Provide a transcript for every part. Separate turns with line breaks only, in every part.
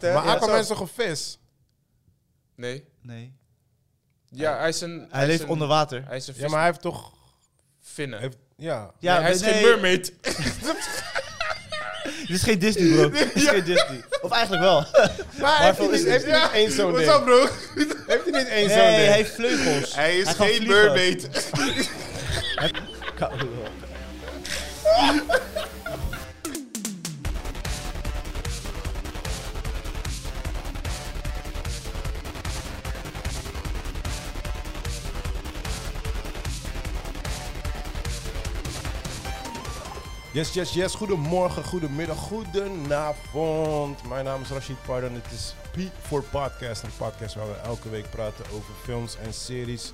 hè?
Maar
Ja,
Aquaman
zo.
is toch een vis?
Nee.
Nee.
Ja, hij is een...
Hij leeft
is een-
onder water.
Hij is een vis.
Ja, maar hij heeft toch...
Vinnen.
Heeft, ja.
Ja,
Nee, hij is
nee,
geen mermaid.
Dit is geen Disney, bro. Dit is geen Disney. Of eigenlijk wel.
Maar heeft hij
Marvel
niet,
is-
heeft hij niet één zo'n ding?
What's up, bro?
Heeft hij niet één
Nee,
zo'n ding?
hij heeft vleugels.
Hij is
kan
geen
vliegen.
mermaid.
Koude lul.
Yes, yes, yes. Goedemorgen, goedemiddag, goedenavond. Mijn naam is Rashid Pardon. Het is P voor Podcast. Een podcast waar we elke week praten over films en series.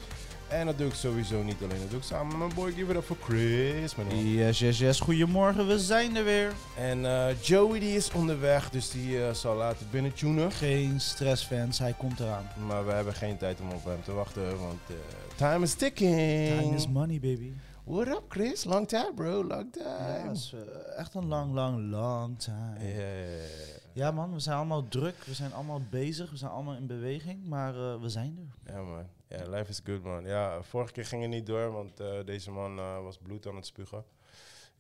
En dat doe ik sowieso niet alleen. Dat doe ik samen met mijn boy. Give it up for Chris. mijn man.
Yes, yes, yes. eh, Goedemorgen, we zijn er weer.
En eh, Joey die is onderweg, dus die eh, zal later binnentunen.
Geen stress, fans. Hij komt eraan.
Maar we hebben geen tijd om op hem te wachten, want eh, time is ticking.
Time is money, baby.
What up, Chris? Long time, bro. Long
Ja,
time.
dat is eh, echt een lang, lang, lang time.
Yeah.
Ja man, we zijn allemaal druk, we zijn allemaal bezig, we zijn allemaal in beweging, maar eh, we zijn er.
Ja, man. Ja, life is good, man. Ja, vorige keer ging het niet door, want eh, deze man eh, was bloed aan het spugen.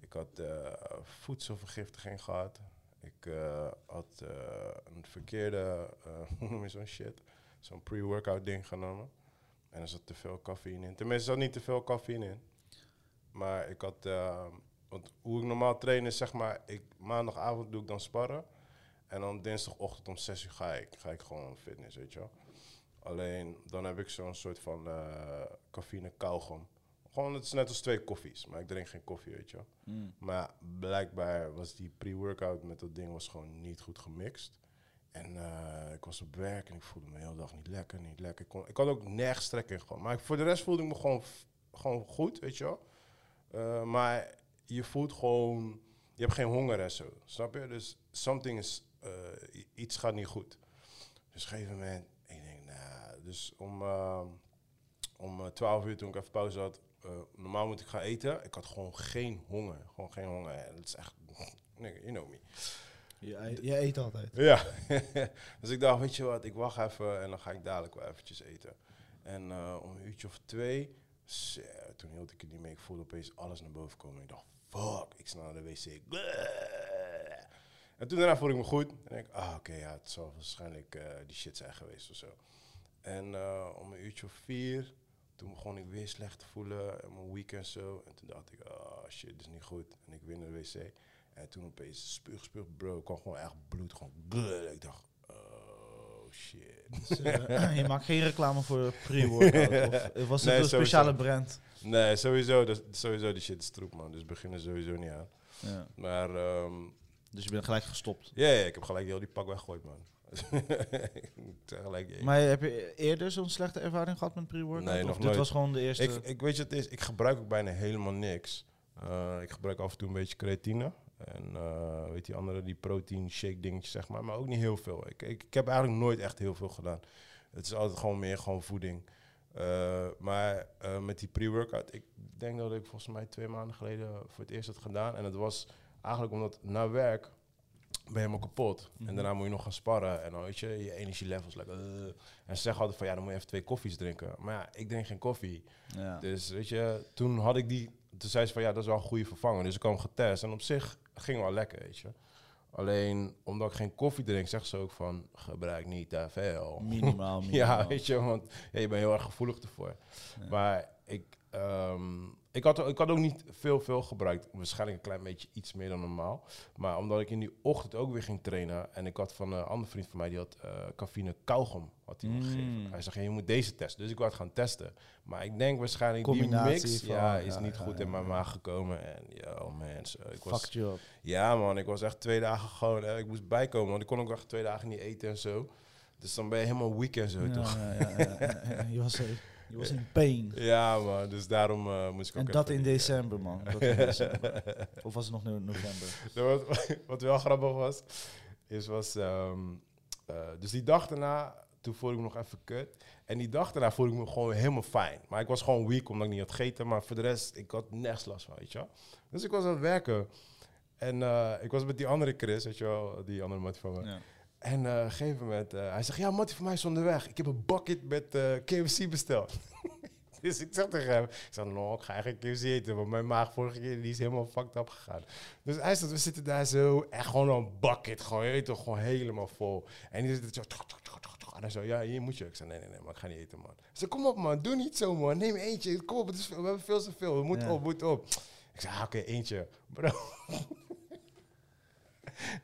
Ik had eh, voedselvergiftiging gehad. Ik eh, had eh, een verkeerde, eh, hoe noem je zo'n shit, zo'n pre-workout ding genomen. En er zat te veel cafeïne in. Tenminste, er zat niet te veel cafeïne in. Maar ik had, eh, want hoe ik normaal train is zeg maar, ik, maandagavond doe ik dan sparren. En dan dinsdagochtend om 6 uur ga ik, ga ik gewoon fitness, weet je wel. Alleen dan heb ik zo'n soort van eh cafeïne kauwgom. Gewoon, het is net als twee koffies, maar ik drink geen koffie, weet je wel.
Hmm.
Maar blijkbaar was die pre-workout met dat ding was gewoon niet goed gemixt. En eh, ik was op werk en ik voelde me de hele dag niet lekker, niet lekker. Ik, kon, ik had ook nergens trek in gewoon. Maar ik- voor de rest voelde ik me gewoon, f- gewoon goed, weet je wel. Eh, maar je voelt gewoon, je hebt geen honger en zo, snap je? Dus something is, eh, i- iets gaat niet goed. Dus op een gegeven moment, ik denk, nou, dus om, ehm, om eh, 12 uur toen ik even pauze had, eh, normaal moet ik gaan eten. Ik had gewoon geen honger, gewoon geen honger. En Dat is echt, nigga, you know me.
Jij, eet altijd.
Ja, dus ik dacht, weet je wat, ik wacht even en dan ga ik dadelijk wel eventjes eten. En eh, om een uurtje of twee, zo, toen hield ik het niet meer. Ik voelde opeens alles naar boven komen. Ik dacht, fuck, ik snel naar de wc. Bleh. En toen daarna voelde ik me goed. En ik, ah oké, ja, het zal waarschijnlijk eh, die shit zijn geweest of zo. En eh, om een uurtje of vier, toen begon ik weer slecht te voelen. En mijn week en zo. En toen dacht ik, ah shit, dit is niet goed. En ik weer naar de wc. En toen opeens spuug, spuug, bro. Ik kwam gewoon echt bloed, gewoon bleh. Ik dacht, oh shit.
Dus, eh, je maakt geen reclame voor pre-workout, of eh, was het
Nee,
een speciale brand?
Nee, sowieso, dat, sowieso die shit is troep, man. Dus beginnen sowieso niet aan.
Ja.
Maar ehm,
Dus je bent gelijk gestopt.
ja, ja, ik heb gelijk heel die pak weggegooid, man. ik zei gelijk, ik-
Maar heb je eerder zo'n slechte ervaring gehad met pre-workout?
Nee,
of
nog
dit
nooit.
was gewoon de eerste?
Ik, ik weet je, het is, ik gebruik ook bijna helemaal niks. Eh, ik gebruik af en toe een beetje creatine. En eh, weet die andere, die protein shake dingetjes, zeg maar. Maar ook niet heel veel. Ik, ik, ik heb eigenlijk nooit echt heel veel gedaan. Het is altijd gewoon meer gewoon voeding. Eh, maar eh, met die pre-workout, ik denk dat ik volgens mij twee maanden geleden voor het eerst had gedaan. En het was eigenlijk omdat na werk ben je helemaal kapot. En daarna moet je nog gaan sparren. En dan weet je, je energielevels. Like, eh. En ze zeggen altijd van, ja, dan moet je even twee koffies drinken. Maar ja, ik drink geen koffie.
ja.
Dus weet je, toen had ik die. Toen zei ze van ja, dat is wel een goede vervanger. Dus ik had hem getest. En op zich ging wel lekker, weet je. Alleen omdat ik geen koffie drink, zegt ze ook van gebruik niet te veel.
Oh, Minimaal, minimaal.
ja, weet je, want ja, je bent heel erg gevoelig ervoor. Maar ik, ehm, ik, had, ik had ook niet veel, veel gebruikt. Waarschijnlijk een klein beetje iets meer dan normaal. Maar omdat ik in die ochtend ook weer ging trainen. En ik had van een andere vriend van mij, die had eh cafeïne kauwgom had hij me gegeven.
Mm.
Hij zei, je moet deze testen. Dus ik wou het gaan testen. Maar ik denk waarschijnlijk
Combinatie
die mix
van-
ja, is
ja,
niet
ja,
goed
ja,
in mijn
ja.
maag gekomen. En yo mensen, ik was,
Fucked you up.
ja man, ik was echt twee dagen gewoon, eh, ik moest bijkomen. Want ik kon ook echt twee dagen niet eten en zo. Dus dan ben je helemaal weak en zo,
Ja,
toch?
ja, ja, ja, ja, ja. Je was, eh, je was in pain.
Ja man, dus daarom eh, moest ik
En
ook
dat
even
in
die-
december, man. Dat in december. Of was het nog no- november?
Nou, Wat, wat wel grappig was, is was... ehm, eh, dus die dag daarna, toen voelde ik me nog even kut. En die dag daarna voelde ik me gewoon helemaal fijn. Maar ik was gewoon weak omdat ik niet had gegeten. Maar voor de rest, ik had nergens last van, weet je wel. Dus ik was aan het werken. En eh, ik was met die andere Chris, weet je wel, die andere mat van me.
Ja.
En eh, op een gegeven moment, eh, hij zegt, ja, Mattie voor mij is onderweg. Ik heb een bucket met eh, KFC besteld. dus ik zeg tegen hem, ik zeg, no, ik ga geen KFC eten, want mijn maag vorige keer die is helemaal fucked up gegaan. Dus hij zegt, we zitten daar zo, echt gewoon een bucket, gewoon, je weet toch, gewoon helemaal vol. En die zit zo, tuk, tuk, tuk, tuk, tuk. en hij zo, ja, hier moet je. Ik zeg, nee, nee, nee, maar ik ga niet eten, man. Hij zegt, kom op, man, doe niet zo, man, neem eentje, kom op, het is, we hebben veel te veel, we moeten
Ja.
op, we moeten op. Ik zeg, ah, oké, eentje. Bro.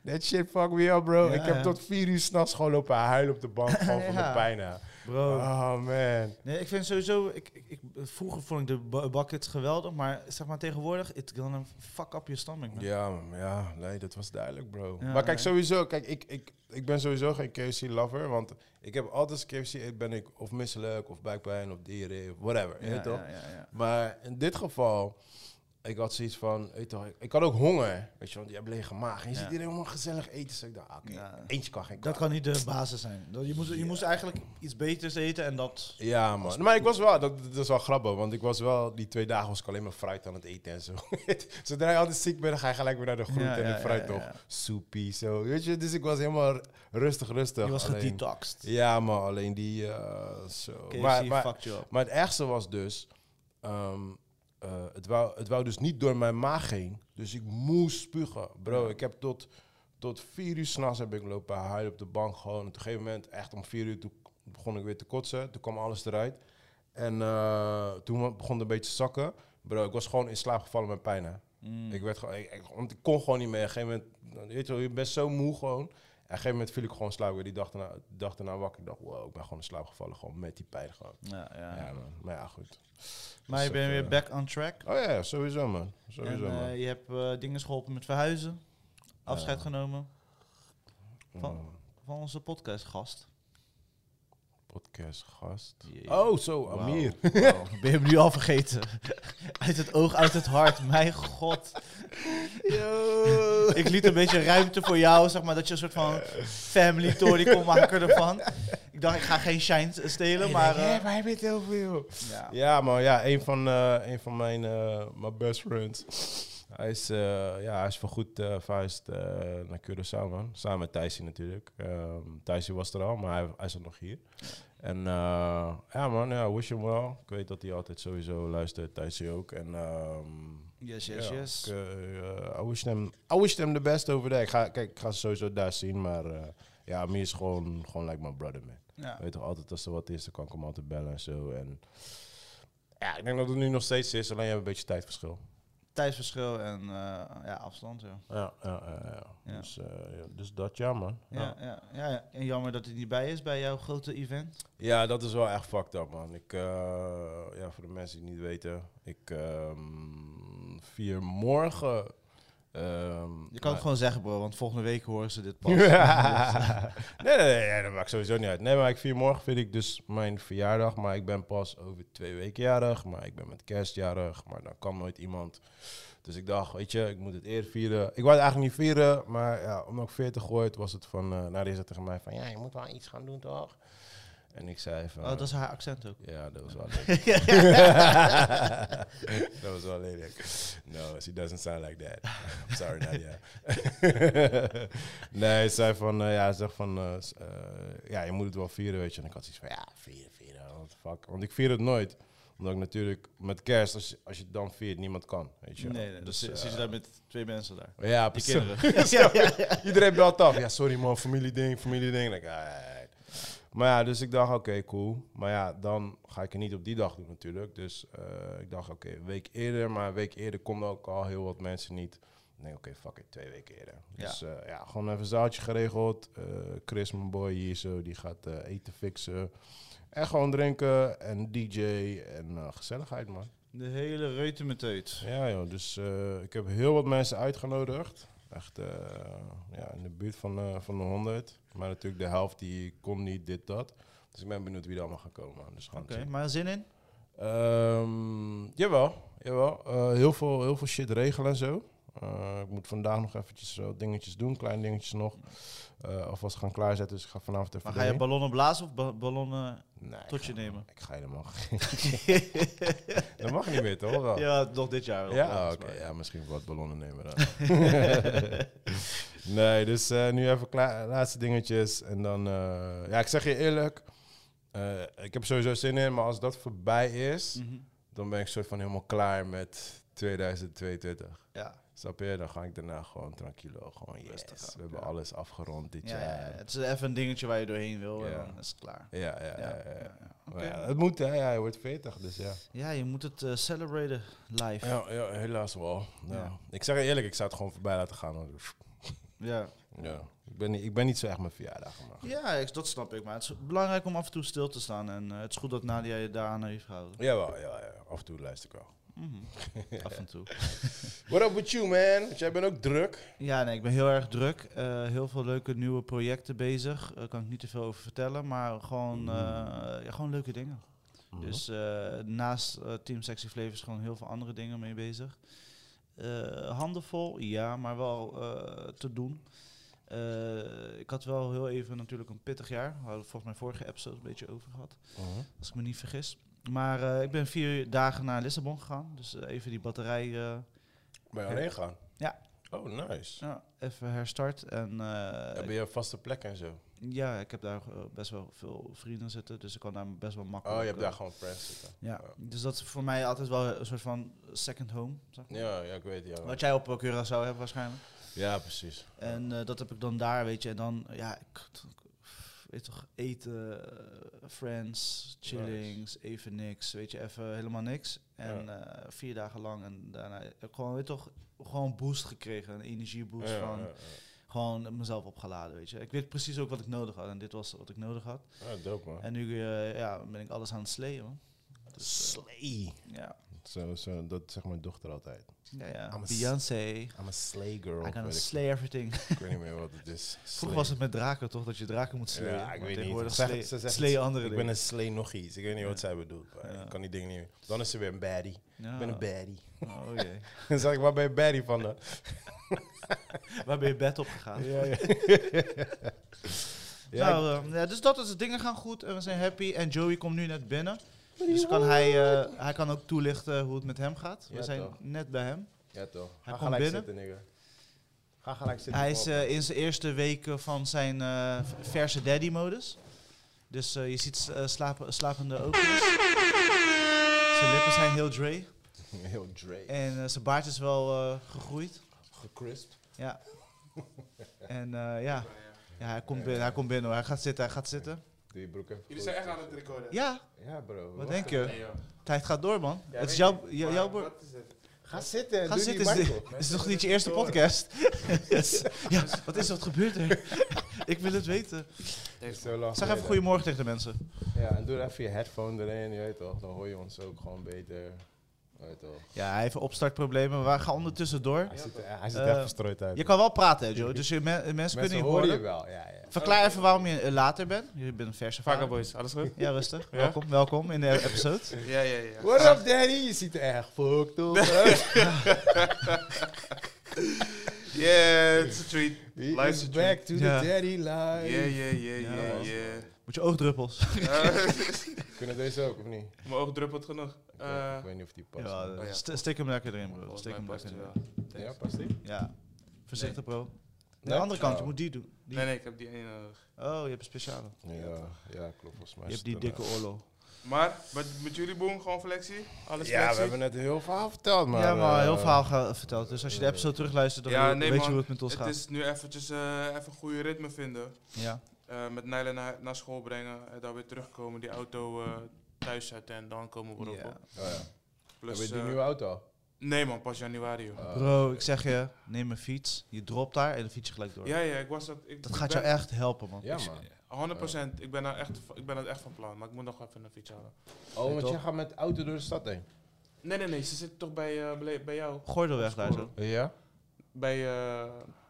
That shit fuck me up, bro.
Ja,
ik heb
ja.
tot vier uur s'nachts gewoon lopen huilen op de bank. Gewoon van
Ja.
de pijn. hè.
Bro.
Oh, man.
Nee, ik vind sowieso... Ik, ik, ik- vroeger vond ik de bu- buckets geweldig, maar zeg maar tegenwoordig... It gonna fuck up je stomach, man.
Ja, man, ja, nee, dat was duidelijk, bro.
Ja,
maar kijk,
nee.
sowieso, kijk, ik, ik, ik ben sowieso geen KFC-lover, want ik heb altijd als KFC eet, ben ik of misselijk, of buikpijn, of diarree, of whatever, je weet toch?
ja, ja, ja.
Maar in dit geval, ik had zoiets van, weet je wel, ik had ook honger, weet je, want je hebt lege maag. En je
Ja.
ziet iedereen helemaal gezellig eten, dus ik dacht, ah, oké,
Ja.
eentje kan geen kwaad.
Dat kan niet de basis zijn. Dat- Je moest, je moest eigenlijk iets beters eten en dat...
Ja, man. Maar ik was wel, dat, dat is wel grappig, want ik was wel, die twee dagen was ik alleen maar fruit aan het eten en zo. Zodra je altijd ziek bent, dan ga je gelijk weer naar de groente
Ja,
en
ja,
de fruit
ja,
toch.
ja.
Soepie, zo. Weet je, dus ik was helemaal r- rustig, rustig.
Je was
Alleen-
gedetoxed.
Ja, man, alleen die, eh, zo.
KFC
Maar, maar,
fucked you up.
maar het ergste was dus, ehm, eh, het, wou, het wou dus niet door mijn maag heen, dus ik moest spugen. Bro, ik heb tot, tot vier uur s'nachts heb ik lopen huilen op de bank gewoon. Op een gegeven moment, echt om vier uur, toen begon ik weer te kotsen. Toen kwam alles eruit. En eh, toen begon het een beetje te zakken. Bro, ik was gewoon in slaap gevallen met pijn, hè.
Mm.
Ik, werd gewoon, ik, ik- want ik kon gewoon niet meer. Op een gegeven moment, weet je wel, je bent zo moe gewoon. En op een gegeven moment viel ik gewoon in slaap. Ik werd Die dag daarna, de dag daarna wakker. Ik dacht, wow, ik ben gewoon in slaap gevallen. Gewoon met die pijn gewoon.
Ja, ja.
Ja, man. Maar ja, goed.
Maar je
Dus
bent
dat,
weer
eh,
back on track.
Oh ja, sowieso, man. Sowieso,
en eh,
man.
je hebt eh, dingen geholpen met verhuizen. Afscheid genomen van-
Mm,
van onze podcastgast.
Podcastgast.
Jee.
Oh, zo,
Wauw.
Amir.
Wauw. Ben je hem nu al vergeten? uit het oog, uit het hart. Mijn god. Ik liet een beetje ruimte voor jou, zeg maar. Dat je een soort van family story kon maken ervan. Ik dacht, ik ga geen shine eh, stelen, maar... eh,
waar heb je het over, joh?
ja.
Ja, man. Ja, een van, eh, een van mijn eh, mijn best friends. Hij is, eh ja, hij is voorgoed eh verhuisd eh, naar Curaçao, man. Samen met Thijsie natuurlijk. Ehm Thijsie was er al, maar hij, hij zat nog hier. En eh, ja, man. Ja, wish him well. Ik weet dat hij altijd sowieso luistert. Thijsie ook. En... ehm,
Yes, yes,
ja,
yes.
Ik, eh, eh, I, wish them, I wish them the best over there. Ik ga, kijk, ik ga ze sowieso daar zien, maar eh, ja, Amir is gewoon, gewoon like my brother, man.
Ja.
Weet toch, altijd als er wat is, dan kan ik hem altijd bellen en zo. En, ja, ik denk dat het nu nog steeds is, alleen je hebt een beetje tijdverschil.
Tijdsverschil en eh, ja, afstand, ja.
Ja, ja, ja, ja.
Ja.
Dus, eh, ja, dus dat ja, man. Ja.
Ja, ja, ja, ja. En jammer dat hij niet bij is bij jouw grote event.
Ja, dat is wel echt fucked up, man. Ik, eh, ja, voor de mensen die het niet weten, ik ehm vier morgen... ehm,
Je kan
nou,
het gewoon zeggen, bro, want volgende week horen ze dit pas.
Ja. nee, nee, nee, nee, dat maakt sowieso niet uit. Nee, maar ik vier morgen vind ik dus mijn verjaardag. Maar ik ben pas over twee weken jarig. Maar ik ben met kerst jarig. Maar dan kan nooit iemand. Dus ik dacht, weet je, ik moet het eer vieren. Ik wou het eigenlijk niet vieren. Maar ja, omdat ik 40 word, was het van... eh nou, die zei tegen mij van, ja, je moet wel iets gaan doen, toch? En ik zei van...
Oh, dat is haar accent ook.
Ja, dat was wel lelijk. dat was wel lelijk. No, she doesn't sound like that. I'm sorry, Nadia. nee, ze zei van, eh, ja, ze zegt van, eh, s- eh, ja, je moet het wel vieren, weet je. En ik had zoiets van, ja, vieren, vieren, what the fuck. Want ik vier het nooit. Omdat ik natuurlijk met kerst, als, je- als je het dan viert, niemand kan, weet je.
Nee, nee, dus
Dus,
zit
eh,
zit je daar met twee mensen daar.
ja,
Die
precies.
kinderen. ja, ja, ja.
Iedereen belt af. Ja, sorry man, familieding, familieding. Like, alright. maar ja, dus ik dacht, oké, cool. Maar ja, dan ga ik het niet op die dag doen natuurlijk. Dus eh, ik dacht, oké, een week eerder. Maar een week eerder konden ook al heel wat mensen niet. Ik denk, oké, fuck it, twee weken eerder. Dus eh, ja, gewoon even een zaaltje geregeld. Eh, Chris, mijn boy hier zo, die gaat eh, eten fixen. En gewoon drinken en DJ en eh, gezelligheid, man.
De hele reuten met uit.
Ja, joh, dus eh, ik heb heel wat mensen uitgenodigd. Echt eh, ja, in de buurt van, eh, van de 100. Maar natuurlijk de helft die kon niet, dit, dat. Dus ik ben benieuwd wie er allemaal gaan komen. man. Dus gaan
Oké,
we zien.
maar zin in?
Ehm, jawel, jawel. Eh, heel, veel, heel veel shit regelen en zo. Eh, ik moet vandaag nog eventjes wat dingetjes doen, kleine dingetjes nog. Eh alvast gaan klaarzetten, dus ik ga vanavond even
Maar ga je
erheen.
ballonnen blazen of ba- ballonnen
Nee,
tot je
ik ga-
nemen?
Ik ga helemaal geen... dat mag niet meer, toch? Of wel?
ja, nog dit jaar. wel,
Ja,
volgens
oké.
mij.
Ja, misschien wat ballonnen nemen dan. Nee, dus eh, nu even klaar, laatste dingetjes. En dan, eh, ja, ik zeg je eerlijk, eh, ik heb er sowieso zin in, maar als dat voorbij is,
Hm. Mhm.
dan ben ik soort van helemaal klaar met 2022.
Ja,
Snap je? Dan ga ik daarna gewoon tranquilo, gewoon
Yes,
rustig.
ja.
We hebben alles afgerond dit
ja, ja,
jaar.
het is even een dingetje waar je doorheen wil en
Ja.
dan is het klaar.
Ja, ja, ja.
Ja,
ja, ja.
Oké.
Maar ja, het moet, hè? Ja, je wordt 40, dus ja.
Ja, je moet het eh, celebraten live. Ja.
Ja, ja helaas wel. Ja.
Ja.
Ik zeg je eerlijk, ik zou het gewoon voorbij laten gaan. hoor.
Ja.
Ja. Ik, ben niet, ik ben niet zo echt mijn verjaardag, maar...
ik- dat snap ik. Maar het is belangrijk om af en toe stil te staan. En eh, het is goed dat Nadia je daaraan heeft gehouden.
Jawel, ja, ja. af en toe luister ik wel.
Mhm. af en toe.
What up with you, man? Want jij bent ook druk.
Ja, nee, ik ben heel erg druk. Eh, heel veel leuke nieuwe projecten bezig. Daar kan ik niet te veel over vertellen, maar gewoon, eh, ja, gewoon leuke dingen.
Mm-hmm.
Dus eh, naast eh, Team Sexy Flavors gewoon heel veel andere dingen mee bezig. Eh handenvol, ja, maar wel eh, te doen. Eh, ik had wel heel even natuurlijk een pittig jaar. We hadden volgens mij vorige episode een beetje over gehad,
Mhm.
als ik me niet vergis. Maar eh, ik ben vier dagen naar Lissabon gegaan. Dus eh, even die batterij eh,
Ben je alleen gaan?
Ja.
Oh, nice.
ja, even herstart. En, eh,
Heb je een vaste plek en zo? Oh,
Ja, ik heb daar eh, best wel veel vrienden zitten, dus ik kan daar best wel
Oh,
makkelijk.
je hebt
eh,
daar gewoon friends zitten.
Ja, dus dat is voor mij altijd wel een soort van second home. Zeg maar.
Ja, ja ik weet het. Ja,
Wat jij op eh, Curaçao hebt waarschijnlijk.
ja precies.
En eh, dat heb ik dan daar, weet je. En dan, ja, ik, weet toch, eten, eh, friends, chillings, even niks, weet je, even helemaal niks. En eh, vier dagen lang en daarna heb ik gewoon, weet toch, gewoon boost gekregen, een energieboost
Ja,
van
ja,
gewoon mezelf opgeladen, weet je. Ik weet precies ook wat ik nodig had en dit was wat ik nodig had.
ja. Ja, dope, man.
En nu eh, ja, ben ik alles aan het sleeën, man. Dus, eh,
Slay.
ja,
Zo, zo, dat zegt mijn dochter altijd.
ja, ja.
I'm a s-
Beyoncé, I
I'm a slay girl.
gonna
weet ik-
slay everything.
Ik weet niet meer wat het is. Slay.
Vroeger was het met draken, toch? Dat je draken moet sleeën.
Ja, ik
Maar
weet niet.
tegenwoordig
Zeg-
slee-
ze zegt-
sleeën andere
Ik ben
dingen.
een slay nog iets. Ik weet niet wat zij bedoelt. maar
Ja.
Ik kan die dingen niet meer. Dan is ze weer een baddie.
Ja.
Ik ben een baddie.
Oh, jee.
Dan zeg ik, waar ben je baddie van dan?
Waar ben je bed op gegaan?
Ja, ja. ja,
Nou, eh, ja, dus dat is het. Dingen gaan goed en we zijn happy. En Joey komt nu net binnen. Dus kan hij, eh, hij kan ook toelichten hoe het met hem gaat. We
Ja,
zijn
toch.
net bij hem.
ja, toch. Ga
komt
gelijk
binnen.
zitten, nigga. Ga gelijk zitten.
Hij is
kom op.
eh, in zijn eerste weken van zijn eh, verse daddy-modus. Dus eh, je ziet eh, slapen, slapende ogen. Zijn lippen zijn heel Dre.
Heel Drake.
En eh, zijn baard is wel eh, gegroeid.
Gecrispt.
Ja. En eh, ja. ja, hij komt binnen. Hij komt binnen. hoor. Hij gaat zitten. Hij gaat zitten.
Doe je broek even
Jullie
goed.
zijn echt aan het recorden.
Ja,
Ja, bro.
wat
wacht
denk
even.
je? Tijd gaat door, man. Het is jouw, jou- jouw boer.
Ga zitten.
Ga
doe
zitten.
Die
Is,
mic op.
dit is nog niet je eerste podcast. ja, wat is er? Wat gebeurt er? Ik wil het weten.
Het is zo lang
Zeg even
geleden.
goedemorgen tegen de mensen.
Ja, en doe even je headphone erin. Je weet toch, dan hoor je ons ook gewoon beter. Je Weet toch.
Ja, hij heeft opstartproblemen. We gaan ondertussen door.
Hij ziet, er- hij ziet
Eh,
er echt verstrooid uit.
Je kan wel praten, hè, Joe. Dus je men- mensen, kunnen je
horen
horen.
je wel, ja, ja.
Verklaar even waarom je eh, later bent. Je bent een verse
Vaca
vader.
boys, alles goed?
Ja, rustig.
Ja?
Welkom, welkom in de episode.
Ja, ja, ja.
What up, daddy? Je ziet er echt fucked op uit.
Yeah, it's a treat.
He
Life's
is
a
back to
Ja.
the daddy life.
Yeah, yeah,
Ja,
yeah, yeah,
man.
yeah.
Moet je oogdruppels.
Eh,
Kunnen deze ook, of niet? Ik
Mijn oog druppelt genoeg.
weet-
Eh,
ik weet niet of die past.
Ja,
man.
eh,
ja.
st- stik hem lekker erin, bro.
volgens
Stik
mij
hem
past
lekker
hij
erin.
wel.
ja, past die?
Ja. Voorzichtig, bro. De
Nee?
andere kant, je
Oh.
moet die doen. Die.
Nee, nee, ik heb die ene nodig.
Oh, je hebt een speciale.
Ja, ja, klopt volgens mij. is
Je hebt die
het een,
dikke oorlog.
Maar, met, met jullie boom, gewoon flexie? Alles
eh, Ja, we
flexie?
hebben net heel verhaal verteld, man.
ja, maar heel
eh,
verhaal ge- verteld. Dus als je de episode terugluistert, dan
Ja,
weet-
nee,
weet je
man.
hoe het met ons
Het
gaat.
is nu eventjes eh, even een goede ritme vinden.
Ja.
Eh, met Nijlen naar, naar school brengen, eh, daar weer terugkomen, die auto eh, thuis zetten en dan komen we erop.
Ja.
op.
Oh, ja.
Plus,
Heb je die
eh,
nieuwe auto al?
Nee man, pas januari joh.
Ah.
Bro, ik zeg je, neem een fiets. Je dropt daar en dan fiets je gelijk door.
Ja, ja, ik was dat... Ik,
Dat
ik
gaat
ben-
jou echt helpen, man.
Ja, man. Oh.
100%, ik ben, daar echt, van- ik ben dat echt van plan, maar ik moet nog even een fiets halen.
Oh, want
toch?
jij gaat met de auto door de stad heen?
Nee, nee, nee, ze zit toch bij, eh, ble- bij jou.
Gordelweg daar zo.
Ja?
Bij eh,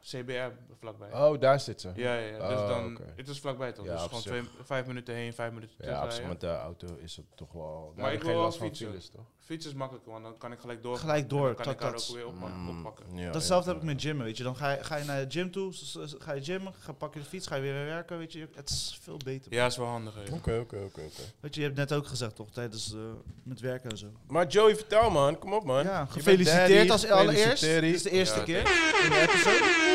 CBR vlakbij.
Oh, daar zit ze.
Ja, ja, ja, dus
Oh,
dan...
oké.
Het is vlakbij toch,
Ja,
dus
op
gewoon
zich.
twee, vijf minuten heen, vijf minuten
Ja, op
terug.
zich met de auto is het toch wel... daar
Maar
heb
ik
je
wil wel
last van
fietsen.
files, toch?
Fiets is makkelijker, want dan kan ik gelijk door.
Gelijk door,
En dan kan ik
tak,
haar
tak.
ook weer eh, oppa-
Mm,
oppakken.
ja,
Datzelfde
ja,
heb ik met gymmen, weet je. Dan ga je, ga je naar de gym toe, s- s- ga je gymmen, ga pak je de fiets, ga je weer werken, weet je. Het is veel beter.
Ja, is wel handiger. joh.
Oké, oké, oké, oké.
Weet je, je hebt net ook gezegd toch, tijdens eh, met werken en zo.
Maar Joey, vertel man, kom op man.
Ja,
Je bent daddy,
gefeliciteerd als allereerst. Dit
gefeliciteerd.
is de eerste
Ja,
keer in de episode.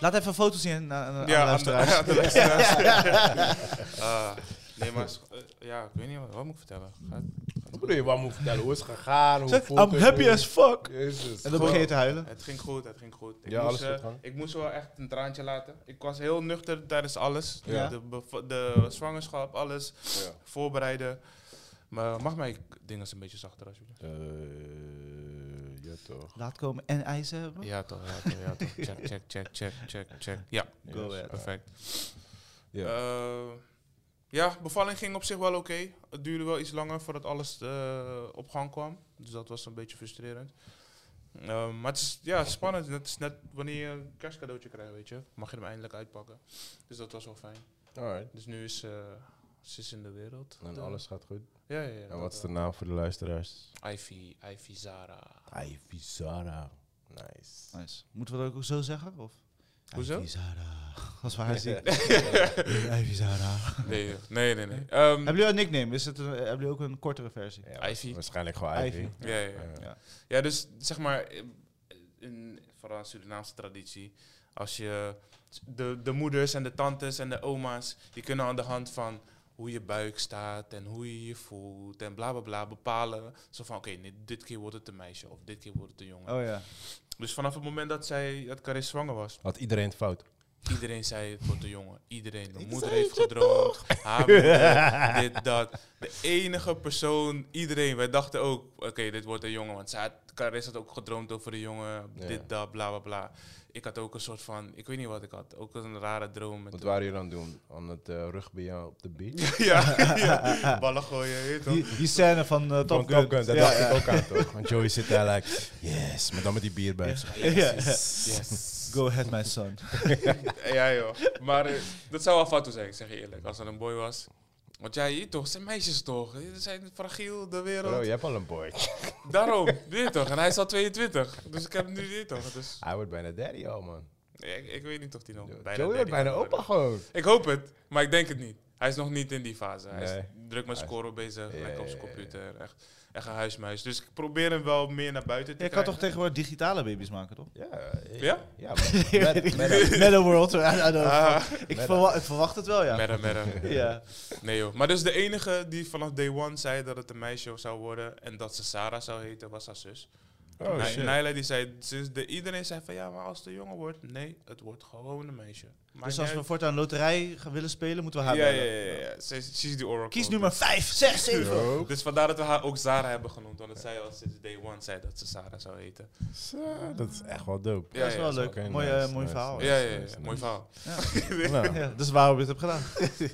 Laat even een foto zien eh, aan, aan, aan
aan de-
luisteraars.
aan de luisteraars. Ah, nee, maar is- eh, ja, ik weet niet, wat, wat moet ik vertellen? Gaat-
Wat bedoel je, wat moet vertellen? Hoe is het gegaan? Hoe
Zeg,
voelt
I'm
het?
happy as fuck.
Jezus.
En dan begin je te huilen.
Het ging goed, het ging goed. Ik,
Ja,
moest,
alles goed
eh,
gaan.
ik moest wel echt een traantje laten. Ik was heel nuchter tijdens alles.
Ja.
De, bev- de zwangerschap, alles.
Ja.
Voorbereiden. Maar mag mijn dingen een beetje zachter alsjeblieft?
Eh, ja, toch.
Laat komen en ijs hebben.
Ja toch, ja toch, ja toch. Check, check, check, check, check, check. Ja,
Go
Yes.
ahead.
perfect.
Ja.
Eh, ja, bevalling ging op zich wel oké. Het duurde wel iets langer voordat alles eh, op gang kwam. Dus dat was een beetje frustrerend. Eh, maar het is ja, spannend. Het is net wanneer je een kerstcadeautje krijgt, weet je. Mag je hem eindelijk uitpakken. Dus dat was wel fijn.
Alright.
Dus nu is eh, ze is in de wereld.
En
De-
alles gaat goed.
Ja, ja, ja.
En wat is de naam voor de luisteraars?
naam? Ivy, Ivy Zara.
Ivy Zara. Nice.
Nice. Moeten we dat ook zo zeggen? Of?
Hoezo?
Ivy Zara. Als we haar zien. Ivy Zara.
Nee, nee, nee. nee. Ehm,
Hebben jullie een nickname? Is het een, hebben jullie ook een kortere versie?
Ja,
Ivy.
Waarschijnlijk gewoon Ivy.
Ivy.
ja, ja, ja.
Ja.
Ja, dus zeg maar, eh, in, vooral Surinaamse traditie, als je de, de moeders en de tantes en de oma's, die kunnen aan de hand van hoe je buik staat en hoe je je voelt en bla bla bla bepalen. Zo van, oké, nee, dit keer wordt het een meisje of dit keer wordt het een jongen.
Oh ja.
Dus vanaf het moment dat zij, dat Karis zwanger was,
Had iedereen het fout?
Iedereen zei het wordt een jongen. Iedereen. Mijn
Ik
moeder
zei
heeft
het je
gedroomd. Haar moeder, dit, dat. De enige persoon, iedereen. Wij dachten ook, oké, dit wordt een jongen. Want zij had, Karis had ook gedroomd over een jongen.
Ja.
Dit, dat, bla, bla, bla. Ik had ook een soort van, ik weet niet wat ik had. Ook een rare droom. Met
Wat waren jullie aan het doen? Aan het eh, rugby eh, op de beach?
ja, ja, ballen gooien, je weet toch?
Die, die scène van eh, Top
Van
Gun.
Top Gun, dat
Ja,
dacht
ja.
ik ook aan toch? Want Joey zit daar like, yes, maar dan met die bier bij. zich.
Ja.
Yes.
Go ahead, my son.
Ja, joh. Maar eh, dat zou wel fout zijn, ik zeg je eerlijk. Als dat een boy was. Want jij, je toch, het zijn meisjes toch? Ze zijn fragiel, de wereld.
Bro, je hebt al een boy.
Daarom, weet toch? En hij is al 22. Dus ik heb nu dit toch? Dus
Hij wordt bijna daddy al man.
ik, ik weet niet of die nog bijna
Joey
13
wordt bijna
wordt.
opa gewoon.
Ik hoop het, maar ik denk het niet. Hij is nog niet in die fase. Hij
Nee.
is druk met
Hij is-
scoren bezig,
Ja,
lekker op zijn
ja, ja, ja.
computer, echt, echt een huismuis. Dus ik probeer hem wel meer naar buiten te
Je kan
krijgen.
toch tegenwoordig digitale baby's maken, toch?
Ja.
Ja?
Ja, man. Met- met-
Metaworld. I don't know.
Ah,
ik,
Meta.
verwa- ik verwacht het wel, ja.
merre, merre.
Ja.
Nee joh. Maar dus de enige die vanaf day one zei dat het een meisje zou worden en dat ze Sarah zou heten, was haar zus.
Oh
Ni-
shit.
Nyla die zei, sinds de, iedereen zei van ja, maar als het een jongen wordt, nee, het wordt gewoon een meisje. Maar
Dus als we voortaan loterij gaan willen spelen, moeten we
Ja,
haar
ja,
bellen.
ja, ja. Ze is- She's the oracle.
Kies nummer 5, 6, 7.
Yo.
Dus vandaar dat we haar ook Zara hebben genoemd. Want het zij al sinds day one zei dat ze Zara zou heten.
Zo, Dat is echt wel dope.
dat is wel leuk.
Oké,
mooi,
nice,
eh, mooi
nice,
verhaal.
nice,
Ja, ja, ja.
nice,
Mooi
nice.
verhaal.
Nou,
Ja, dat is waarom ik het heb gedaan.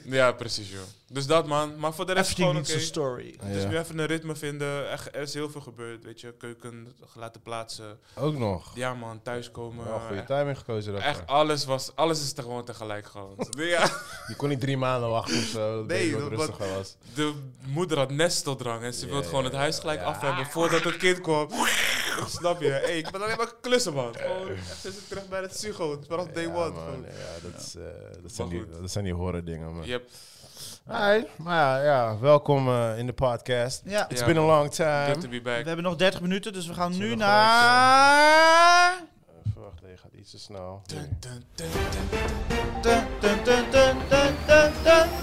Ja, precies joh. Dus dat man. Maar voor de rest
Everything
gewoon
needs
oké.
a story.
ja.
Dus nu even een ritme vinden. Echt, er is heel veel gebeurd, weet je. Keuken laten plaatsen.
Ook nog.
Ja man, thuiskomen.
Wel goede
Echt-
timing gekozen daarvoor.
Echt alles was, alles is er gewoon tegelijk gewoon. Ja,
Je kon niet drie maanden wachten of zo. Dat
Nee,
nee, wat
dat-
rustiger was.
de moeder had nesteldrang en ze
Ja,
wilde gewoon
ja,
het huis gelijk
ja.
af hebben voordat het kind kwam. Snap je? Hey, ik ben alleen maar klussen man. Gewoon, echt, ze zit terug bij het psycho. Vanaf day
ja,
one.
man,
gewoon.
ja, dat, is, eh, dat, zijn
Maar
die,
goed.
dat zijn die horror dingen, man.
Yep.
Alright, maar ja, ja, welkom eh, in de podcast.
Ja.
It's
Ja.
been a
Good
long
to
time.
be back.
We hebben nog 30 minuten, dus we gaan
Zullen
nu
we
naar...
Even wacht, je gaat iets te snel.
Dun, dun, dun, dun.
Dun, dun, dun, dun, dun, dun,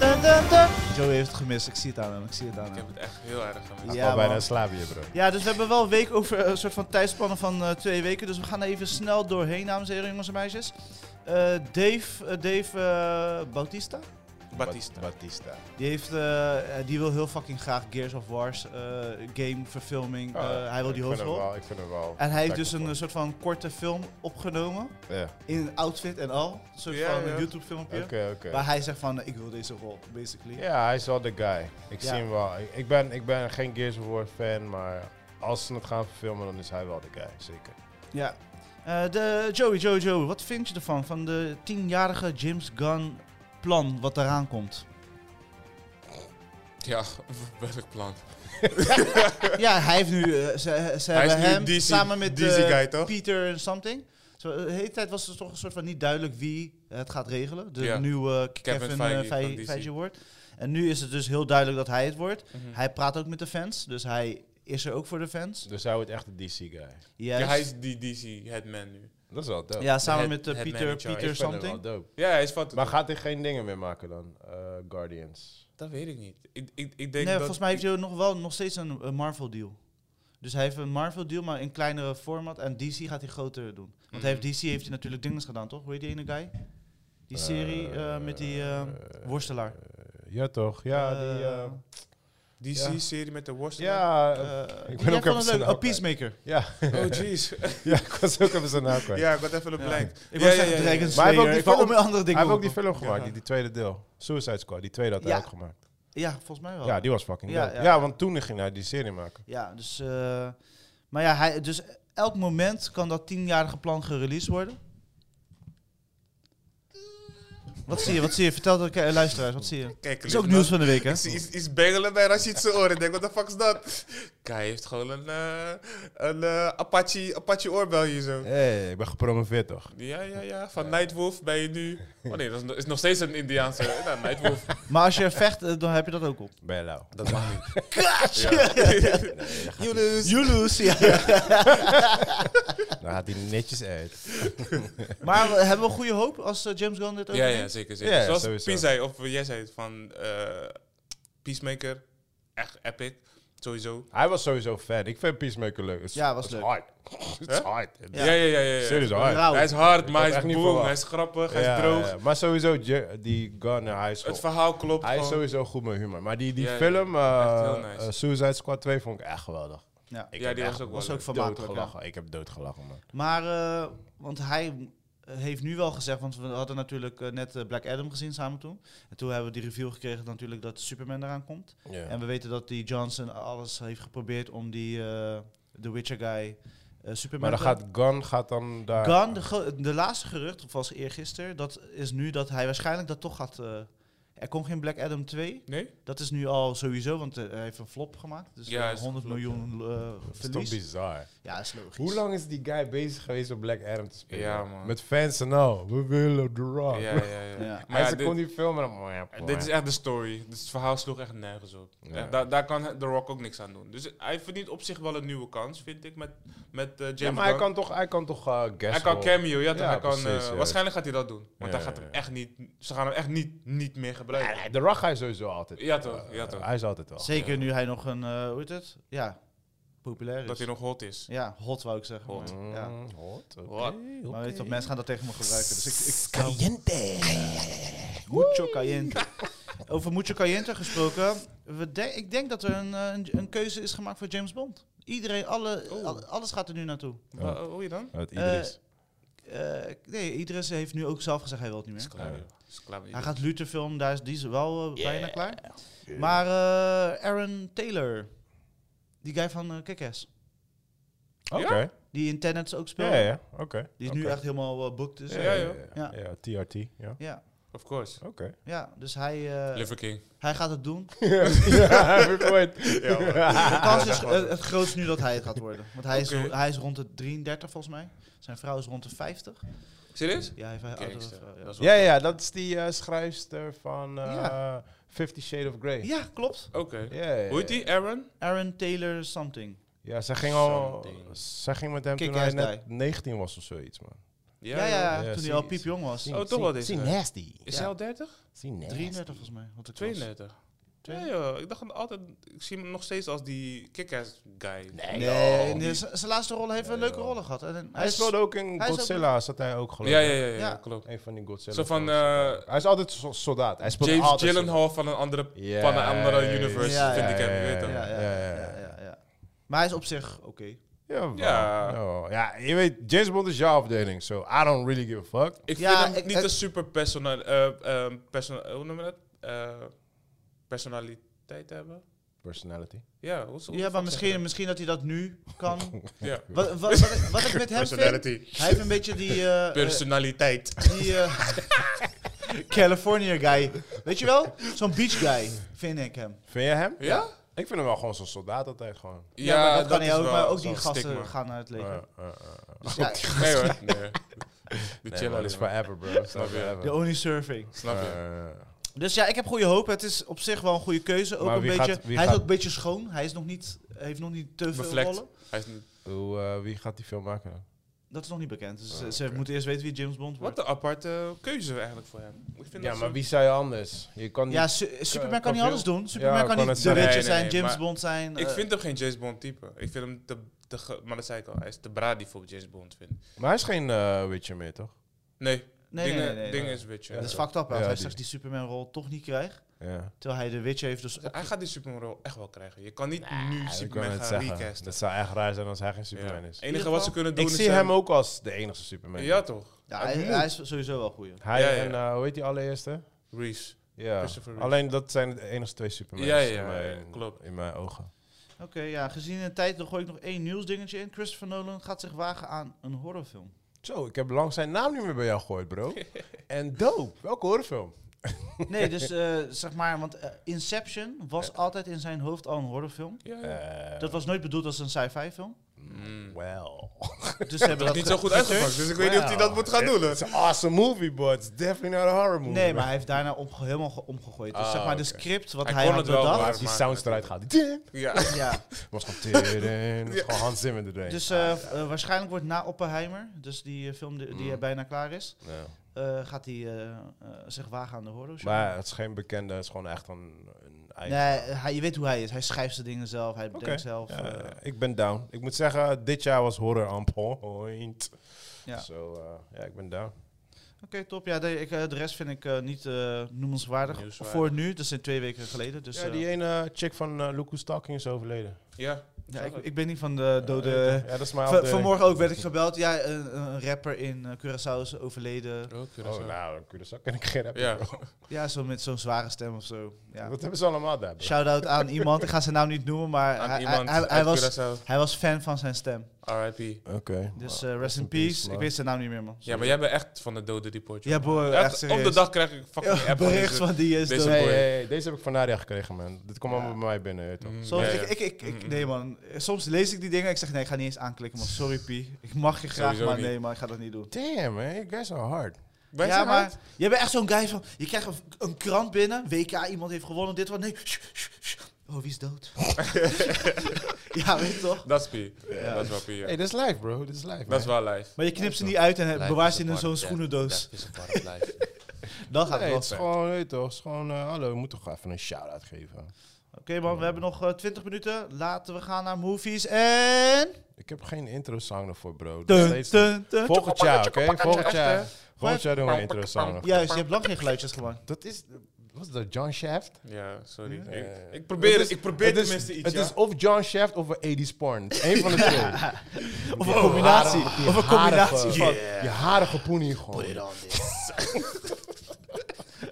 dun, dun, dun, dun. Joey heeft het gemist, ik zie het aan hem, ik zie het aan
Ik
hem.
heb het echt heel erg gemist.
Ik
Ja,
ja,
man.
bijna slapen hier, bro.
Ja, dus we hebben wel een week over eh, een soort van tijdspannen van eh, twee weken. Dus we gaan er even snel doorheen, dames en heren, jongens en meisjes. Eh, Dave, eh, Dave eh, Bautista,
Batista.
Bat- Batista.
die, heeft, eh, eh, die wil heel fucking graag Gears of Wars eh, game,
Oh,
verfilming. Eh,
Ah,
hij wil die
ik vind hem
hoofdrol.
wel- Ik vind hem wel.
En hij heeft dus een eh,
respectful.
soort van korte film opgenomen.
Ja,
In een outfit en al. Een soort
Ja,
van een
ja.
YouTube filmpje.
oké, oké.
Waar hij zegt van, eh, ik wil deze rol, basically.
Ja, hij is wel de guy. Ik
Ja.
zie hem wel. Ik- Ik ben, ik ben geen Gears of War fan, maar als ze het gaan verfilmen, dan is hij wel de guy, zeker.
Ja. Eh, de Joey, Joey, Joey, wat vind je ervan? Van de tienjarige James Gunn plan wat eraan komt?
Ja, welk plan?
ja, hij heeft nu, eh, ze, ze
Hij is
hebben
nu
hem
DC
samen met
DC
eh,
guy, toch?
Peter en something. Zo, eh, de hele tijd was het toch een soort van niet duidelijk wie het gaat regelen. De
Ja.
nieuwe
Kevin
Kevin,
Feige
eh, Feige
van DC.
Feige wordt. En nu is het dus heel duidelijk dat hij het wordt.
Mhm.
Hij praat ook met de fans, dus hij is er ook voor de fans.
Dus hij wordt echt de DC guy.
Juist.
Ja, hij is die DC headman nu.
Dat is wel dope.
Ja, samen
head-
met eh,
head
Pieter,
manager.
Ik
Pieter
vind hem wel
something.
dope.
Ja, hij is van.
Maar gaat hij geen dingen meer maken dan? eh, Guardians.
dat weet ik niet. Ik, ik, ik denk
Nee,
dat
volgens mij heeft hij nog wel nog steeds een, een Marvel deal. Dus hij heeft een Marvel deal, maar in kleinere format. En DC gaat hij groter doen. Want hij heeft
Mhm.
DC heeft hij natuurlijk dingen gedaan, toch? Hoe heet die ene guy? Die serie eh, met die eh,
eh,
worstelaar.
Ja, toch? Ja, die...
Eh,
eh,
Die
Ja.
serie met de worstelaar.
ja, eh,
eh,
ik
die-
ben
jij
ook
vond
even
het
zijn
leuk.
naam
Oh, Peacemaker.
ja.
Oh, jeez.
ja, ik was ook even zijn naam kwijt.
ja, ik had even een
Ja.
blank.
Ik
ja,
was
ja,
echt
ja, ja.
Dragon
Maar hij heeft ook
Slayer.
die
Ik wou
film-
om andere dingen
Hij heeft ook die
roepen.
film gemaakt,
Ja.
die, die tweede deel. Suicide Squad, die tweede had hij
Ja.
ook gemaakt.
Ja, volgens mij wel.
Ja, die was fucking
Ja,
dope.
ja.
Ja, want toen ging hij die serie maken.
Ja, dus. eh, maar ja, hij, dus elk moment kan dat tienjarige plan gereleased worden. Wat zie je? Wat zie je? Vertel dat eh, luisteraars, wat zie je?
Kijk,
Dat is ook
Luc,
nieuws
man.
van de week, hè?
Ik zie iets, iets bengelen bij Rashid zijn oren. Ik denk, wat de fuck is dat? Kai heeft gewoon een, eh, een eh, Apache, Apache oorbel hier zo.
Hé, hey, ik ben gepromoveerd toch?
Ja, ja, ja. Van Nightwolf ben je nu... Oh nee, dat is no- is nog steeds een Indiaanse... Nou, Nightwolf,
Maar als je vecht, eh, dan heb je dat ook op.
Ben je lauw?
dat mag niet.
Kaas!
Ja. Yunus.
You lose, ja.
Dan gaat hij netjes uit.
Maar we- hebben we goede hoop als eh, James Gunn dit ook
Ja, ja,
doet?
zeker, zeker.
Ja, ja,
Zoals
sowieso.
Pien zei, of jij zei het van eh, Peacemaker, echt epic, sowieso.
Hij was sowieso fan. Ik vind Peacemaker leuk. Het is-
Ja, was
het
leuk.
is hard. Het is
Huh?
hard.
Ja.
Ja, ja, ja. ja, ja.
Serieus hard.
Rauw.
Hij is hard,
Nou, Ik
maar
had
hij
echt
is
niet
boom,
verwacht.
hij is grappig, hij
Ja,
is droog.
ja, Maar sowieso, Je- die Gunner, hij is
Het
gewoon-
verhaal klopt
Hij is
gewoon.
sowieso goed met humor. Maar die, die
Ja, ja,
film, eh,
echt heel nice.
eh, Suicide Squad 2, vond ik echt geweldig.
Ja.
Ik
Ja,
heb
die was
echt
ook wel
was ook
leuk.
vermakelijk. ja.
doodgelachen. Ik heb doodgelachen, man.
Maar, eh, want hij eh, heeft nu wel gezegd, want we hadden natuurlijk eh, net eh, Black Adam gezien samen toen. En toen hebben we die review gekregen natuurlijk dat Superman eraan komt. En we weten dat die Johnson alles heeft geprobeerd om die eh, The Witcher guy eh, Superman
Maar dan
te-
gaat Gun gaat dan daar...
Gunn, de, gro- de laatste gerucht, of was eergisteren, dat is nu dat hij waarschijnlijk dat toch gaat... eh, er komt geen Black Adam 2.
Nee?
Dat is nu al sowieso, want eh, hij heeft een flop gemaakt. Dus
Ja,
eh,
hij is
100
geflopt,
miljoen eh
Dat is toch
verlies.
bizar.
Ja, is logisch.
Hoe lang is die guy bezig geweest om Black Adam te spelen?
Ja, man.
Met fans en al. We willen de rock.
Ja, ja, ja.
Ja.
Maar
Maar ja,
ze kon
dit,
die film en dan... Oh,
dit is echt de story. Dus het verhaal sloeg echt nergens op.
Ja.
Echt, daar, daar kan The Rock ook niks aan doen. Dus hij verdient op zich wel een nieuwe kans, vind ik, met, met eh, James
Ja, maar hij
Gunn.
kan toch, hij kan toch eh, guest
Hij kan
role.
cameo, ja, toch?
Ja,
hij kan,
precies,
eh,
ja.
Waarschijnlijk gaat hij dat doen. Want
Ja,
hij gaat
ja,
hem
ja.
echt niet, ze gaan hem echt niet, niet meer gebruiken.
Ja, de rock hij sowieso altijd.
Ja, toch,
eh,
ja, toch.
Hij is altijd wel.
Zeker nu hij nog een, eh, hoe heet het? Ja, populair is.
Dat hij nog hot is.
Ja, hot wou ik zeggen.
Hot.
maar, Ja.
Mm, Hot, oké.
Hot.
Maar weet je wat, mensen gaan dat tegen me gebruiken. Dus ik, ik
Caliente.
Mucho Caliente. Over Mucho Caliente gesproken. We de- ik denk dat er een, eh, een, een keuze is gemaakt voor James Bond. Iedereen, alle,
Oh.
al- alles gaat er nu naartoe.
Wa- Hoe je dan?
Wat
Eh,
Oh, Idris.
Eh, nee, Idris heeft nu ook zelf gezegd hij wil het niet
Is
meer.
klaar.
Ja.
Is klaar met
Hij
iedereen.
gaat Luther filmen, daar is die is wel eh,
Yeah.
bijna klaar. Maar eh, Aaron Taylor, die guy van uh, Kick-Ass,
Oké.
Eh, die in Tenets ook speelt.
Ja, ja, oké.
Die is nu
Oké.
echt helemaal boekt. booked. Dus,
Ja,
ja.
ja.
ja. Ja, TRT, ja.
Ja,
Of course.
Oké.
dus hij, eh,
Liver King.
hij gaat het doen.
ja, heb ik gehoord.
Ja,
De kans is eh, het grootst nu dat hij het gaat worden. Want hij, is,
Oké.
hij is rond de 33 volgens mij. Zijn vrouw is rond de 50.
Serieus?
Ja, hij heeft een oudere
Gangster.
vrouw.
Dat
Ja.
is wel-
Ja, ja, dat is die eh, schrijfster van eh
Ja.
Fifty Shades of Grey.
Ja, klopt.
Oké.
Ja, ja, ja.
Hoe heet die? Aaron?
Aaron Taylor something.
Ja, zij ging, al,
Something.
zij ging met hem toen hij
Kick-ass
net 19 was of zoiets, man.
Ja, ja,
ja,
toen hij
zie-
al piepjong was.
Oh, toch wel deze.
nasty.
Is
Ja.
hij al 30?
Is die nasty.
33 volgens mij. Wat ik las.
32. Ja, joh. Ik dacht altijd... Ik zie hem nog steeds als die kick-ass guy.
Nee,
Nee,
joh.
nee, eh, z- zijn laatste rol heeft een
Nee,
leuke
joh.
rollen gehad. En, en
Hij speelde ook in
hij is ook-
Godzilla, zat hij ook geloof
Ja, ja,
ik.
ja, ja,
Ja.
klopt.
Een van die Godzilla.
Zo van
films.
eh,
hij is altijd zo- soldaat. Hij speelt
James
altijd soldaat.
Gyllenhaal van een andere...
Ja,
van een andere
ja, ja,
universe
ja,
vind ik
ja,
hem, je weet
ja,
toch?
ja, ja, ja, ja, ja, ja. Maar hij is op zich oké.
Ja,
Ja.
ja. ja, je weet, James Bond is jouw afdeling, so I don't really give a fuck.
Ik
Ja,
vind hem
ik-
niet
het-
een super personal, eh, ehm, persona- eh, hoe noem je dat? Eh, personaliteit hebben.
Personality.
Ja, hoe, hoe fuck
Ja, maar
zeg je
misschien, misschien dat hij dat nu kan.
dat? Ja.
Wat, wat, wat, ik, wat ik met hem vind...
Personality.
Hij heeft een beetje die... eh, eh,
Personaliteit.
Die eh, California guy. Weet je wel? Zo'n beach guy, vind ik hem.
Vind jij hem?
Ja?
Ik vind hem wel gewoon zo'n soldaat altijd gewoon.
Ja, maar dat, kan
is
hij ook.
wel
Maar ook
zo'n
die gasten
stigma.
gaan naar het leger.
Eh, eh, eh, eh.
Dus ja,
Nee hoor. Nee. Die
Nee,
chillen
man, is
alleen maar.
forever, bro. Is
Snap je?
forever.
de only surfing.
Snap je?
Eh, eh,
Dus ja, ik heb goede hoop. Het is op zich wel een goede keuze. Ook
Maar
een
wie
beetje,
gaat- wie
hij is
gaat-
ook een beetje schoon. Hij is nog niet, heeft nog niet te veel
Bevlekt.
rollen.
Hij is niet...
hoe, eh, wie gaat die film maken dan?
Dat is nog niet bekend. Dus
Ah,
ze- ze
oké.
moeten eerst weten wie James Bond wordt.
Wat een aparte keuze eigenlijk voor hem. Ik vind
Ja,
dat
maar
ze-
wie zou je anders? Je kan niet...
Ja, Su- eh, Superman kan niet
veel.
alles doen. Superman
Ja,
kan
kan
niet
het
The
zijn.
Witcher
Nee, nee,
zijn,
nee,
James
maar
Bond zijn.
Ik
eh,
vind hem geen James Bond type. Ik vind hem te, te ge- maar dat zei ik al, hij is te bradi voor James Bond vind.
Maar hij is geen eh, Witcher meer, toch?
Nee,
nee, nee,
dingen,
nee, nee,
dingen
nee.
is Witcher.
Ja,
Dat is fucked up. hè, Als
Ja,
hij
die.
straks die Superman-rol toch niet krijgt.
Ja.
Terwijl hij de Witcher heeft dus...
Hij gaat die Superman-rol echt wel krijgen. Je kan niet nu
Ja, ik
Superman
wou net
gaan
zeggen,
recasten.
Dat zou echt raar zijn als hij geen
Ja.
Superman
Het
is.
enige
geval-
wat ze kunnen doen
Ik
is
zie hem ook als de enige Superman.
Ja toch?
Ja,
Het
hij,
moet.
hij is sowieso wel goeie.
Hij
Ja, ja,
en,
ja.
eh, hoe heet die allereerste?
Reese.
Ja.
Christopher Reeve.
Alleen dat zijn de enige twee Supermans
Ja, ja,
in, mijn,
ja, klopt.
in mijn ogen.
Oké, ja, gezien de tijd dan gooi ik nog één nieuwsdingetje in. Christopher Nolan gaat zich wagen aan een horrorfilm.
Zo, ik heb lang zijn naam niet meer bij jou gegooid, bro. en dope, welke horrorfilm?
Nee, dus eh, zeg maar, want eh, Inception was altijd in zijn hoofd al een horrorfilm.
Ja, ja.
Eh,
Dat was nooit bedoeld als een sci-fi film.
Mm.
Well.
Dus ze
Dat
hebben dat
is niet
ge-
zo goed
geturfd.
uitgepakt, dus ik weet niet of hij dat moet gaan doen. hè.
It's an awesome movie, but it's definitely not a horror movie.
Nee, maar hij heeft daarna omge- helemaal ge- omgegooid. Dus
Ah,
zeg maar, de
oké.
script wat hij,
Hij kon
had
het wel,
Maar
bedacht.
als die sounds eruit gaat, dit
Ja.
Ja.
was gewoon tering, was gewoon Hans Zimmer erin.
Dus eh, v- eh, waarschijnlijk wordt na Oppenheimer, dus die eh, film die, die
Mm.
bijna klaar is,
Ja.
eh, gaat hij eh, eh, zich wagen aan de horror.
Maar het is geen bekende, het is gewoon echt een, een eigen.
Nee, hij, je weet hoe hij is. Hij schrijft zijn dingen zelf, hij bedenkt
Oké.
zelf.
Ja,
eh,
ik ben down. Ik moet zeggen, dit jaar was horror on point.
Ja.
Ja. Zo, eh, ja, ik ben down.
Oké, top. Ja, de, ik, eh, de rest vind ik eh, niet eh, noemenswaardig
Nieuwswaardig.
voor nu. Dat zijn twee weken geleden. Dus,
ja,
eh,
die ene chick van eh Luke Stalking is overleden.
Ja.
ja, ik, ik ben niet van de
Eh,
dode...
ja, dat is mijn
Van,
afdeling.
vanmorgen ook werd ik gebeld. Ja, een, een rapper in eh, Curaçao is overleden.
Oh, nou, Curaçao ken ik geen rapper.
Ja.
bro.
Ja, zo met zo'n zware stem of zo. Ja.
Wat hebben ze allemaal daar? bro?
Shout-out aan iemand. Ik ga zijn naam niet noemen, maar
Aan
hij,
iemand
hij, hij, hij
uit
was, Oh,
Curaçao.
hij was fan van zijn stem.
R.I.P.
Oké.
Dus
Nou,
eh, rest in peace. Ik
man.
weet zijn naam niet meer, man.
Ja, maar jij bent echt van de dode report.
Ja,
jongen.
boy,
Echt,
echt
Op de
serieus.
dag krijg ik fucking dus- app van
Bericht
deze-
van die is
deze
dood.
Hey,
boy.
hey, hey, deze heb ik van Nadia gekregen, man. Dit komt
Ja.
allemaal bij mij binnen. weet je toch?
Mm,
Soms,
ja, ja.
Ik, ik, ik, ik-
Mm, mm.
nee man, soms lees ik die dingen en ik zeg nee, ik ga niet eens aanklikken man, sorry Pie. Ik mag je graag,
Sowieso
maar
niet.
nee maar ik ga dat niet doen.
Damn, man. You guys are hard.
Wij
ja,
zijn
maar
hard.
jij bent echt zo'n guy van, je krijgt een, een krant binnen, WK, iemand heeft gewonnen, dit wat, nee, sh- sh- sh. oh wie is dood? ja, weet je toch?
Dat is Pie.
Ja.
Dat is wel Pie, ja.
Hey, dit is live, bro. Dit is live,
Dat is
man.
wel live.
Maar je knipt ze niet uit en eh, bewaart ze in een zo'n schoenendoos.
is een warm lijf.
Dan gaat het
Hey,
wel
het is
ver.
gewoon, weet je toch, het is gewoon, eh, hallo, we moeten toch even een shout-out geven.
Oké man,
Mm.
we hebben nog eh, 20 minuten, laten we gaan naar movies en...
Ik heb geen intro-song ervoor, bro. Dat is
Dun,
steeds-
dun, dun.
Volgend jaar, oké? Volgend jaar. Volgend jaar doen we een intro-song. ervoor.
Juist, je hebt lang geen geluidjes gemaakt.
Dat is, was dat John Shaft?
Ja, sorry.
Ja.
Ik,
Eh,
ik probeer,
het is-
ik probeer
het is-
tenminste iets.
Het
ja.
is of John Shaft of een 80s porn. Eén van de twee.
Of een combinatie,
Die
of een
harige-
combinatie van...
Je harige poenie gewoon.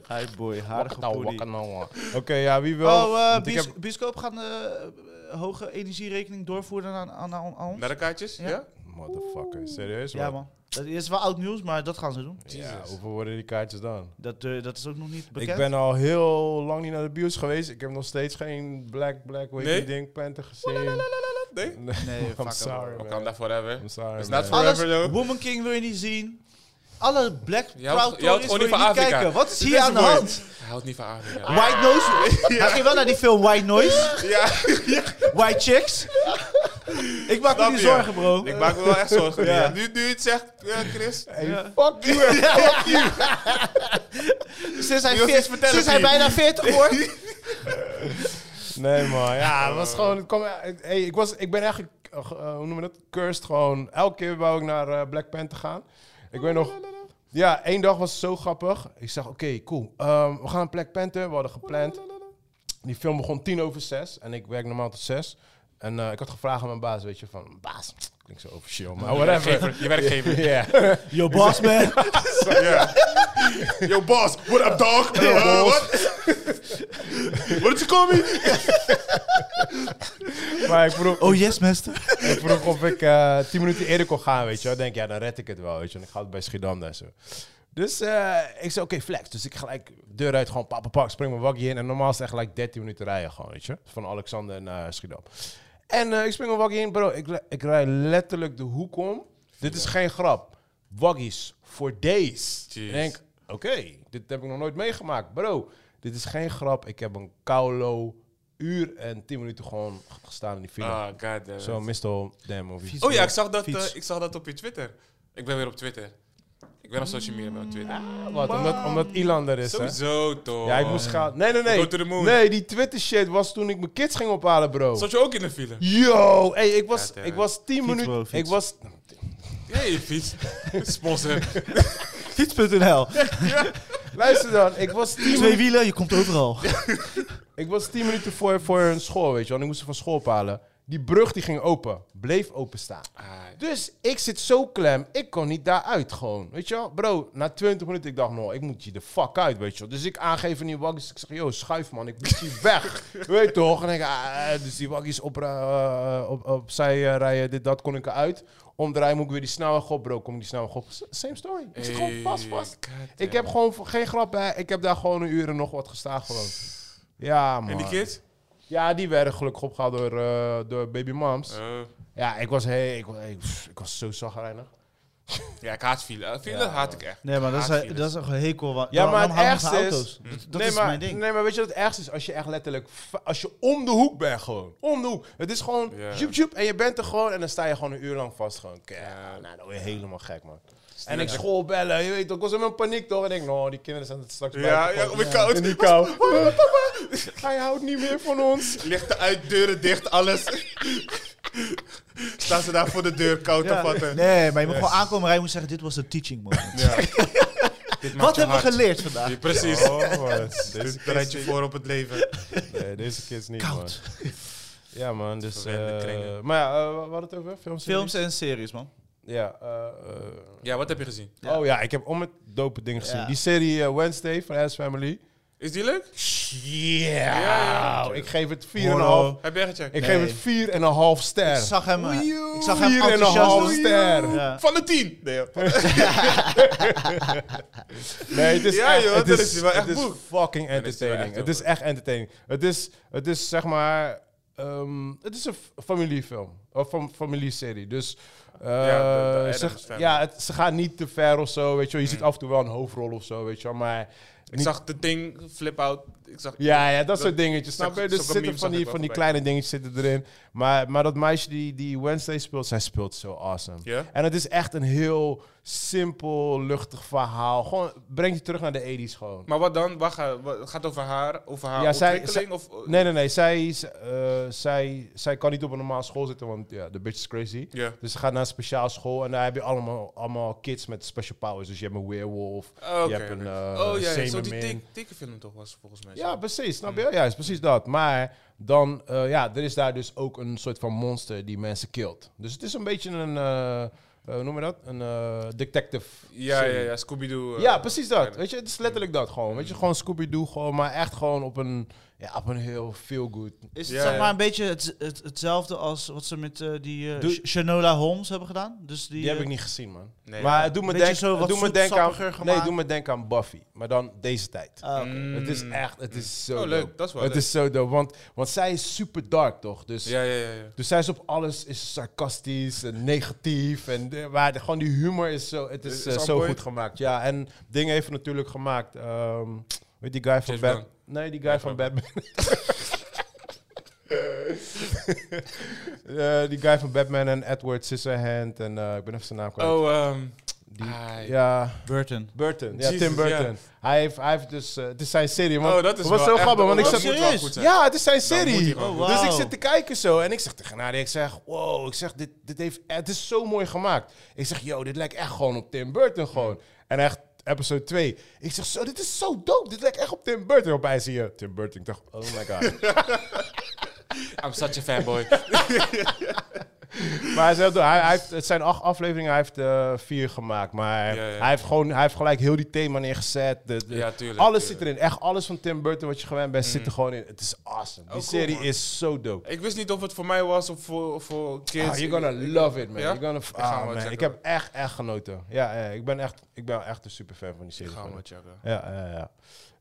Hi boy, harige
Nou,
poedie.
wakker nou, man. Oké, ja, wie wil?
Oh, eh,
Want ik
bios-
heb-
bioscoop gaat een hoge energierekening doorvoeren aan, aan, aan, aan ons.
Naar de kaartjes?
Ja.
Ja?
Motherfucker, serieus,
ja, man. Dat is wel oud nieuws, maar dat gaan ze doen.
Ja,
Jesus.
hoeveel worden die kaartjes dan?
Dat, eh, dat is ook nog niet bekend.
Ik ben al heel lang niet naar de bios geweest. Ik heb nog steeds geen Black Black Wave
Nee?
Ding Panther gezien.
Nee?
Nee, fuck
I'm
it,
sorry,
man.
man.
Wakanda forever.
I'm sorry,
Is dat
man.
voor-
Alles,
Forever, though.
Woman King wil je niet zien. Alle Black
Je houdt-
Proud
je houdt
Tories
gewoon
wil je
niet van
niet
Afrika.
kijken. Wat is
Dit
hier
is
aan de
mooi.
hand?
Hij houdt niet van
Ah.
Afrika.
White Noise? Hij ging wel naar die film White Noise.
Ja.
White Chicks. Ik maak me
Snap
niet
je?
zorgen, bro.
Ik maak me wel echt zorgen.
Ja.
ja. Nu, nu je het zegt, eh, Chris.
Hey,
Ja.
fuck you. en fuck you.
Sinds hij,
Je wilt
veert-
iets vertellen,
sinds hij
Pien.
bijna 40 wordt.
Nee, man. Ja, het was gewoon... Het kwam, hey, ik, was, ik ben eigenlijk, eh, eh, hoe noemen we dat? Cursed gewoon. Elke keer wou ik naar eh, Black Panther gaan. Ik weet nog... Ja, één dag was zo grappig. Ik zag, oké, cool. Ehm, we gaan Black Panther. We hadden gepland. Die film begon tien over zes. En ik werk normaal tot zes. En eh, ik had gevraagd aan mijn baas, weet je, van... Baas, klinkt zo officieel, maar whatever.
Werkgever, je werkgever.
Ja.
Yo, boss man.
Ja. Yo, boss, what up, dog? Uh, what? what did you call me?
Maar ik vroeg,
Oh yes, master.
ik vroeg of ik eh, tien minuten eerder kon gaan, weet je wel. Ik denk, ja, dan red ik het wel, weet je wel. Ik ga het bij Schiedam en zo. Dus eh, ik zei, oké, flex. Dus ik gelijk deur uit, gewoon papa pak, spring mijn wakkie in. En normaal is het echt gelijk 13 minuten rijden gewoon, weet je. Van Alexander naar Schiedam. En eh, ik spring mijn wakkie in, bro. Ik, le- ik rij letterlijk de hoek om. Dit is geen grap. Waggies for days.
Jeez.
Ik denk, oké, dit heb ik nog nooit meegemaakt. Bro, dit is geen grap. Ik heb een koulo uur en 10 minuten gewoon gestaan in die file.
Ah, god damn it.
Zo, Mr. Damn of
Vies.
iets.
Oh ja, ik zag dat, eh,
Fiets.
ik zag dat op je Twitter. Ik ben weer op Twitter. Ik ben op social media maar op Twitter.
Wat? Omdat, omdat Ilan er is, hè?
Sowieso toch.
Ja, ik moest gaan. Nee, nee,
Go to the
nee.
moon.
Nee, die Twitter shit was toen ik mijn kids ging ophalen, bro.
Zat je ook in de file?
Yo, hey, ik
Ja,
was,
Terry.
ik was 10
Fiets, bro,
minuten.
fiets.
Ik was.
Nee, fiets. Sponsor.
Fiets.nl.
Luister dan, ik was 10
Twee
minuten.
wielen, je komt overal.
Ik was 10 minuten voor, voor hun school, weet je wel. En ik moest ze van school ophalen. Die brug die ging open. Bleef openstaan.
Ah,
Dus ik zit zo klem. Ik kon niet daaruit gewoon. Weet je wel? Bro, na 20 minuten ik dacht, nou, ik moet je de fuck uit, weet je wel. Dus ik aangeven die waggies. Ik zeg, yo, schuif man, ik moet hier weg. weet je toch? En ik, ah, dus die waggies op, eh, op, opzij eh, rijden, dit, dat, kon ik eruit. Omdraaien moet ik weer die snelweg op, bro. Kom ik die snelweg op. S- Same story. Ik zit gewoon vast, vast. Ik heb gewoon, voor- geen grap, hè. Ik heb daar gewoon een uur en nog wat gestaan gewoon. Ja, man.
En die kids?
Ja, die werden gelukkig opgehaald door, eh, door baby moms.
Eh,
Ja, ik was, hey, ik, wa- ik, pff, ik was zo zagrijnig.
ja, ik haat file. File
Ja,
haat ik echt.
Nee, maar dat
Haat
is,
files.
dat is een hekel. wa-
Ja, maar
waarom
het
houden we van
ergste is-
auto's? Dat, dat
nee,
is
maar,
mijn ding.
Nee, maar weet je wat het ergste is? Als je echt letterlijk... fa- Als je om de hoek bent gewoon. Om de hoek. Het is gewoon...
Ja.
Joep, joep, en je bent er gewoon. En dan sta je gewoon een uur lang vast gewoon. Kijk,
Ja.
nou, dan word je helemaal gek, man. En
niet
ik school bellen. Je weet toch, ik was in mijn paniek toch. En ik denk, nou, die kinderen zijn het straks
Ja,
buiten
ja,
gewoon
op de koud.
In die kou. Hij houdt niet meer van ons.
Lichten uit, deuren dicht, alles. Staan ze daar voor de deur koud
Ja.
te vatten.
Nee, maar je moet gewoon aankomen rijden en moet zeggen, dit was een teaching moment.
Ja.
Wat hebben we geleerd vandaag?
Ja, precies.
Oh, man. Deze
Dit bereidt je
kids,
voor op het leven.
nee, deze kids niet,
Koud.
man. Ja, man. Dus,
Vervelende
eh,
kringen.
maar ja, eh, we hadden het over films.
Films en series, man.
Ja, eh, eh,
Ja, wat heb je gezien?
Ja.
Oh ja, ik heb om het dope ding gezien.
Ja.
Die serie eh, Wednesday van Ass Family.
Is die leuk?
Yeah.
ja, ja.
Ik geef het 4,5.
Horror.
Heb jij gecheckt?
Ik
Nee.
geef het 4,5
Ik
ster.
zag hem, eh,
Oei,
ik zag hem
vier en een
enthousiast
half
doen.
ster.
Ja.
Van de tien! Nee, joh.
Nee, het is
Ja,
echt,
joh,
het
dat is wel echt
het is
boek.
fucking
het is wel
entertaining.
echt
het is echt entertaining. Het is, het is zeg maar, ehm, het is een f- familiefilm of fam familieserie. Dus eh,
Ja, de- de Addams
ze,
Family. Mm.
ja, het- ze gaan niet te ver of zo, weet je. wel. Je ziet af en toe wel een hoofdrol of zo, weet je. wel, Maar
Ik zag de ding, flip out. Ik zag...
Ja, ja, dat,
Dat-
soort dingetjes. Snap
zulke-
je? Dus
zulke
zitten
memes
van
zag
die,
ik
van
wel
die kleine dingetjes zitten erin. Maar, maar dat meisje die, die Wednesday speelt, zij speelt zo awesome.
Ja?
En het is echt een heel simpel, luchtig verhaal. Gewoon breng je terug naar de 80s gewoon.
Maar wat dan? Wat gaat, wat gaat over haar? Over haar
Ja, zij-
ontwikkeling? of,
Nee, nee, nee. Zij, z- eh, zij, zij kan niet op een normale school zitten, want ja, de bitch is crazy.
Ja.
Dus ze gaat naar een speciaal school en daar heb je allemaal, allemaal kids met special powers. Dus je hebt een werewolf,
Oh,
je
oké.
hebt een eh,
oh ja, ja, zo die
zeemermin.
tik- tekenfilm toch was volgens mij.
Ja, precies.
Mm.
Snap je? Ja, is precies dat. Maar dan, eh, ja, er is daar dus ook een soort van monster die mensen killt. Dus het is een beetje een, eh, eh, hoe noem je dat? Een eh, detective.
Ja,
serie.
ja, Mm. ja, Scooby-Doo. eh,
Ja, precies dat.
eh,
Weet je, het is letterlijk dat gewoon. Weet je, gewoon Scooby-Doo gewoon, maar echt gewoon op een, ja, op een heel feel-good.
Is het
Ja,
zeg
ja.
maar een beetje het, het, hetzelfde als wat ze met eh, die eh
Doe-
Sh- Shanola Holmes hebben gedaan? Dus die,
Die heb
eh,
ik niet gezien, man.
Nee.
maar het doet me
Beetje
denken
zo wat
het doet me
zoet,
denken aan,
sappiger
nee,
gemaakt.
het doet me denken aan Buffy. Maar dan deze tijd.
Ah, oké.
Mm.
eh, Het is echt, het is zo
Oh, leuk.
leuk.
Dat is wel
Het
leuk.
is zo dope, want, want zij is super dark, toch? Dus
Ja, ja, ja. ja.
Dus zij is op alles is sarcastisch en negatief. En de- maar de- gewoon die humor is zo, het is,
Is- is
eh,
on
zo
point.
goed gemaakt. Ja, en dingen heeft natuurlijk gemaakt. ehm, weet die guy van
James
Batman? Nee, die guy van Batman. Eh, die guy van Batman en Edward Scissorhand. En eh, ik ben even zijn naam kwijt.
Oh, ehm
Die-
ah,
Ja,
Burton.
Burton. Ja,
Jesus,
Tim Burton.
ja.
Hij, heeft, hij heeft dus... eh, het is zijn serie. Want,
oh, dat is
het was
wel
zo grappig, want ik
dat
zat...
is serieus?
Ja, het is zijn
Dan moet hij
serie.
gewoon
Oh,
goed
wauw.
Dus ik zit te kijken zo en ik zeg tegen Nadia, ik zeg, wow, ik zeg, dit, dit heeft, het is zo mooi gemaakt. Ik zeg, yo, dit lijkt echt gewoon op Tim Burton gewoon. En echt, episode 2. Ik zeg, zo, dit is zo dope, dit lijkt echt op Tim Burton. Op mij zie je Tim Burton. Ik dacht, oh my god.
zijn. I'm such a fanboy.
maar hij, zegt, hij, hij heeft, het zijn acht afleveringen, hij heeft eh, vier gemaakt. Maar
Ja, ja.
hij heeft gewoon, hij heeft gelijk heel die thema neergezet. De, de-
ja, tuurlijk.
alles
tuurlijk.
zit erin, echt alles van Tim Burton wat je gewend bent zit er gewoon in. Het is awesome. Die
cool,
serie
man.
is zo dope.
Ik wist niet of het voor mij was of voor, of voor kids.
Ah, you're gonna
Ik- ik-
love it, man.
Ja?
You're gonna f-
Ik ga hem
ah,
wel
man.
checken.
Ik heb echt, echt genoten. Ja, ja, ik ben echt, ik ben echt een super fan van die
Ik
serie.
ga hem wel
man.
checken.
Ja, ja, ja.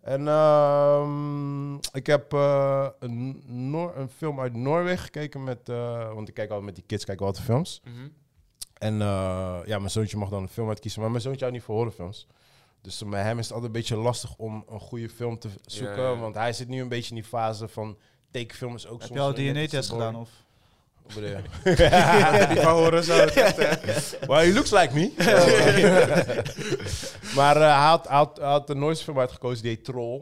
En ehm, ik heb eh, een, Noor- een film uit Noorwegen gekeken met, eh, want ik kijk altijd met die kids, kijk ik altijd films.
Mhm.
En eh, ja, mijn zoontje mag dan een film uitkiezen, maar mijn zoontje houdt niet van horrorfilms. Dus met hem is het altijd een beetje lastig om een goede film te zoeken,
ja.
want hij zit nu een beetje in die fase van tekenfilm is ook
Heb
soms
je al
weer net iets te
DNA-test
boring.
gedaan? Of?
Wat bedoel je?
Die van horen zou het echt, eh,
Well, he looks like me. maar eh, hij, had, hij, had, hij had de nooit film uitgekozen, die heet Troll.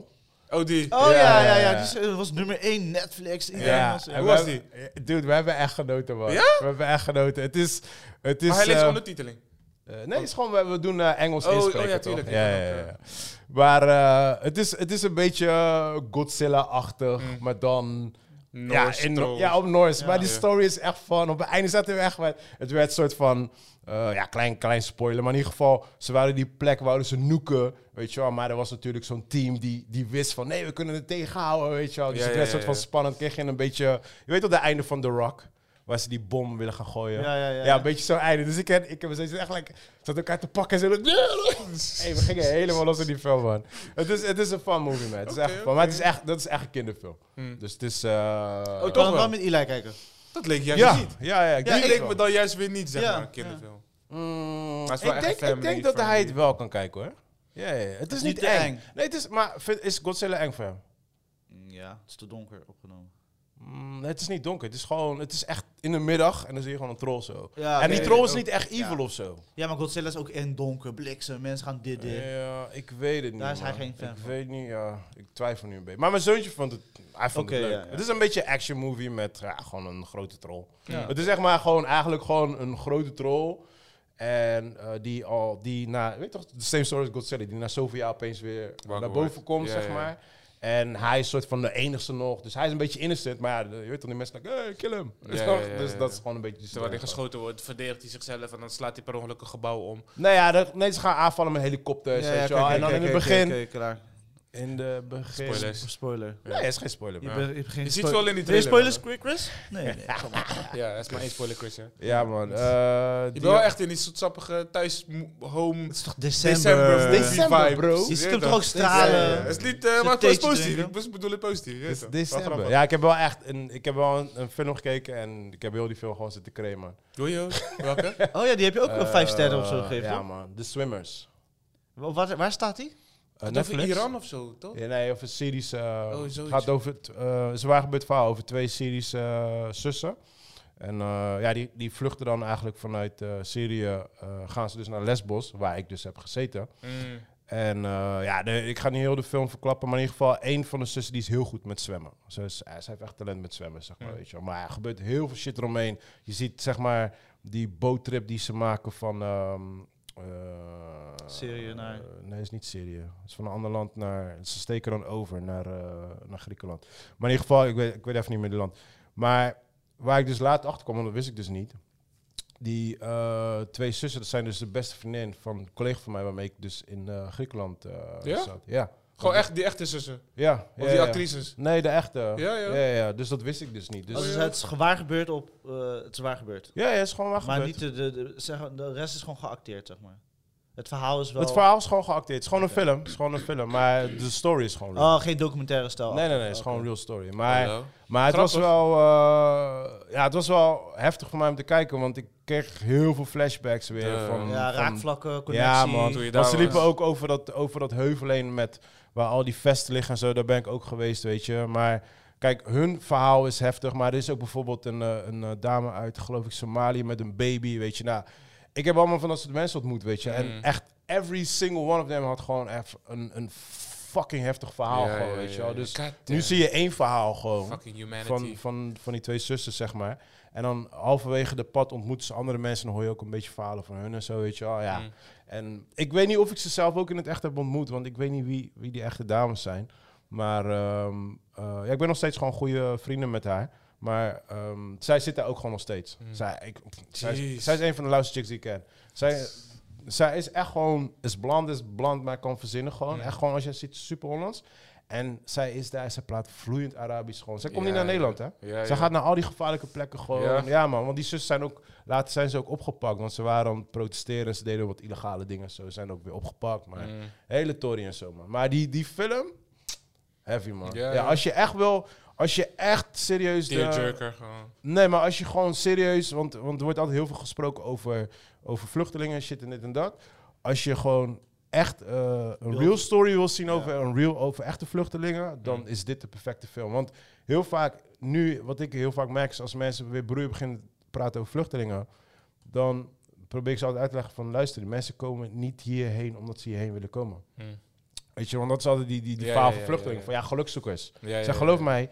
Oh, die.
Oh ja,
Ja,
ja,
ja,
ja.
ja.
Die is- eh, was nummer 1 Netflix. Iedereen was-
en
ja.
we
was
hebben- eh, Dude, we hebben echt genoten, man.
Ja?
We hebben echt genoten. Het is... Het is
Maar hij leest
eh,
ondertiteling.
eh, nee, het is gewoon, we, we doen eh, Engels
Oh, oh ja,
inspreken, toch?
tuurlijk.
Ja,
Ja,
ja, ja,
oké.
ja. Maar eh, het, is, het is een beetje eh, Godzilla-achtig,
Mm.
maar dan...
Norse
ja, in,
troll.
ja, oh. op Noors.
Ja.
maar die
Ja.
story is echt van... Op het einde zaten we echt... met- Het werd een soort van... eh, ja, klein, klein spoiler. Maar in ieder geval, ze waren die plek, wouden ze noeken. Weet je wel. Maar er was natuurlijk zo'n team die, die wist van... Nee, we kunnen het tegenhouden, weet je wel. Dus
Ja,
het werd
ja,
een soort
ja,
van
ja.
spannend. Kreeg je een beetje... Je weet op het einde van The Rock... Waar ze die bom willen gaan gooien.
Ja, ja, ja.
een beetje zo'n einde. Dus ik, heb, ik heb steeds echt like, zat elkaar te pakken. En zo, hey, we gingen helemaal los in die film, man. Het is, het is een fun movie, man. Het is
Oké,
echt fun. Maar het is
oké.
echt, dat is echt een kinderfilm.
Hm.
Dus het is... eh,
Oh,
Toch
Toch
wel
wel.
met Eli kijken.
Dat leek juist
ja,
niet.
ja, ja. Ik
Die
denk
leek
het
me
wel.
dan juist weer niet, zeg
Ja,
maar,
ja.
kinderfilm.
Mm,
Maar het is wel
ik
echt
denk,
een
ik denk dat
family-friendly.
hij het wel kan kijken, hoor. Ja, ja, ja. Het is niet,
te
eng.
eng.
Nee, het is, maar vind- is Godzilla eng voor hem?
Mm, Ja, het is te donker opgenomen.
Mm, nee, het is niet donker. Het is gewoon... Het is echt in de middag en dan zie je gewoon een troll zo.
Ja,
en die
oké.
troll is niet echt evil
Ja.
of zo.
Ja, maar Godzilla is ook in donker, bliksem, mensen gaan dit, dit.
Ja, ik weet het niet.
Daar is hij
man.
geen fan
Ik
van.
weet niet, ja. Ik twijfel nu een beetje. Maar mijn zoontje vond het... Hij vond
Oké,
het leuk.
ja, ja.
Het is een beetje action movie met ja, gewoon een grote troll.
Ja.
Het is zeg maar gewoon eigenlijk gewoon een grote troll. En eh, die al, die na, weet je toch, de same story als Godzilla, die na zoveel jaar opeens weer
Wakker
naar boven
wordt.
komt,
Ja,
zeg
ja.
maar. En hij is soort van de enigste nog. Dus hij is een beetje innocent, maar ja, je weet toch, die mensen like, hey, kill hem.
Ja, ja, ja,
dus
ja,
dat
ja.
is gewoon een beetje... die
Terwijl hij
story.
geschoten wordt, verdedigt hij zichzelf en dan slaat hij per ongeluk een gebouw om.
Nee, Nou ja, dat, nee, ze gaan aanvallen met helikopters, weet je wel. En dan in het begin...
klaar.
In de begin...
Spoiler.
Spoiler.
Nee, het is geen spoiler.
Je,
man.
Ja.
be- je, begint
Je ziet
spo-
het wel in die
Wil je
trailer,
spoilers, Quick Chris? Nee, nee. kom maar.
Ja, dat is maar één spoiler, Chris. Hè.
Ja, man. eh,
Je
die-
bent wel echt in die zoetsappige thuis mo- home
Het is toch december?
december,
December, eh,
vibe.
bro.
Je
Je ziet
weet
hem toch
dat.
ook stralen?
Ja, ja, ja.
Het is niet, eh, maar het
theetje
was positief.
drinken.
Ik was- bedoel het positief. je weet
Het
toch.
is
Wel
december.
grappig.
Ja, ik heb wel echt een, ik heb wel een, een film gekeken en ik heb heel die film gewoon zitten cremen.
Doei, joh.
Ah,
Welke?
Oh ja, die heb je ook wel
Eh,
vijf sterren of zo gegeven,
Ja,
toch?
man. The Swimmers.
Wa- Waar, waar staat die?
Eh,
Dat over Iran of zo, toch?
Ja, nee, over series. eh
Oh, zoiets.
gaat over t- eh zwaar gebeurd verhaal over twee series eh, zussen. En eh, ja, die, die vluchten dan eigenlijk vanuit eh, Syrië. eh, gaan ze dus naar Lesbos, waar ik dus heb gezeten.
Mm.
En eh, ja, de- ik ga niet heel de film verklappen, maar in ieder geval één van de zussen die is heel goed met zwemmen. Ze, is- eh, ze heeft echt talent met zwemmen, zeg maar,
Ja.
weet je wel. Maar er gebeurt heel veel shit eromheen. Je ziet zeg maar die boottrip die ze maken van... ehm eh,
Syrië naar-
eh, nee, het is niet Syrië. Het is van een ander land naar... Ze steken dan over naar, eh, naar Griekenland. Maar in ieder geval, ik weet, ik weet even niet meer het land. Maar waar ik dus laat achter kwam, want dat wist ik dus niet. Die eh, twee zussen, dat zijn dus de beste vriendin van een collega van mij, waarmee ik dus in eh, Griekenland eh,
Ja?
zat. Ja.
Gewoon echt die echte zussen.
Ja.
Of
ja,
die
ja.
actrices.
Nee, de echte.
Ja, ja.
ja, ja. Dus dat wist ik dus niet. Dus,
Oh, dus het is waar gebeurd op... eh, het is waar gebeurd.
ja, ja, het is gewoon waar
Maar
gebeurd.
niet de, de, de, zeg, de rest is gewoon geacteerd, zeg maar. Het verhaal is wel...
Het verhaal is gewoon geacteerd. Het is gewoon
Oké.
een film. Het is gewoon een film. Maar de story is gewoon real.
Oh, geen documentaire stijl.
nee, nee, nee. Het is
Oké.
gewoon een real story. Maar...
Hallo.
Maar het was,
Grappig.
wel, eh, ja, het was wel heftig voor mij om te kijken, want ik kreeg heel veel flashbacks weer.
Ja.
van,
Ja,
van-
raakvlakken, connectie.
Ja,
Toen
man.
je
Want
daar
ze liepen
was.
ook over dat, over dat heuvel heen met waar al die vesten liggen en zo. Daar ben ik ook geweest, weet je. Maar kijk, hun verhaal is heftig. Maar er is ook bijvoorbeeld een, eh, een eh, dame uit, geloof ik, Somalië met een baby, weet je. Nou, ik heb allemaal van dat soort mensen ontmoet, weet je. En
Mm.
echt, every single one of them had gewoon echt een, een fucking heftig verhaal,
Ja,
gewoon,
ja,
weet je
ja,
wel.
ja.
Dus
God
nu
damn.
zie je één verhaal gewoon
Fucking humanity.
van, van, van die twee zussen, zeg maar. En dan halverwege de pad ontmoeten ze andere mensen. Dan hoor je ook een beetje verhalen van hun en zo, weet je wel. Ja.
Mm.
En ik weet niet of ik ze zelf ook in het echt heb ontmoet. Want ik weet niet wie, wie die echte dames zijn. Maar ehm, eh, ja, ik ben nog steeds gewoon goede vrienden met haar. Maar ehm, zij zit daar ook gewoon nog steeds.
Mm.
Zij, ik, zij, is,
Jeez.
zij is een van de luisterchicks die ik ken. Zij, zij is echt gewoon... Is bland, is bland, maar kan verzinnen gewoon.
Mm.
Echt gewoon als je ziet, super Hollands. En zij is daar, ze praat vloeiend Arabisch gewoon. Zij komt
Ja,
niet naar
ja.
Nederland, hè?
Ja, ja.
Zij gaat naar al die gevaarlijke plekken gewoon. Ja,
Ja.
man, want die zussen zijn ook... Later zijn ze ook opgepakt, want ze waren aan het protesteren. en Ze deden wat illegale dingen en zo. Ze zijn ook weer opgepakt, maar...
Mm.
Hele tory en zo, man. Maar die, die film... Heavy, man. Ja,
Ja, ja.
als je echt wil... Als je echt serieus... de-
Tearjerker gewoon.
Nee, maar als je gewoon serieus... Want, want er wordt altijd heel veel gesproken over, over vluchtelingen en shit en dit en dat. Als je gewoon echt eh, een real story wil zien over, een real, over echte vluchtelingen, dan is dit de perfecte film. Want heel vaak, nu, wat ik heel vaak merk, is als mensen weer broer beginnen te praten over vluchtelingen, dan probeer ik ze altijd uit te leggen van, luister, die mensen komen niet hierheen omdat ze hierheen willen komen.
Hmm.
Weet je, want dat is altijd die, die, die
Ja,
verhaal
ja,
van
ja,
vluchtelingen,
ja, ja.
van ja, gelukzoekers.
Ja, ja,
Zeg,
ja,
geloof
ja.
mij,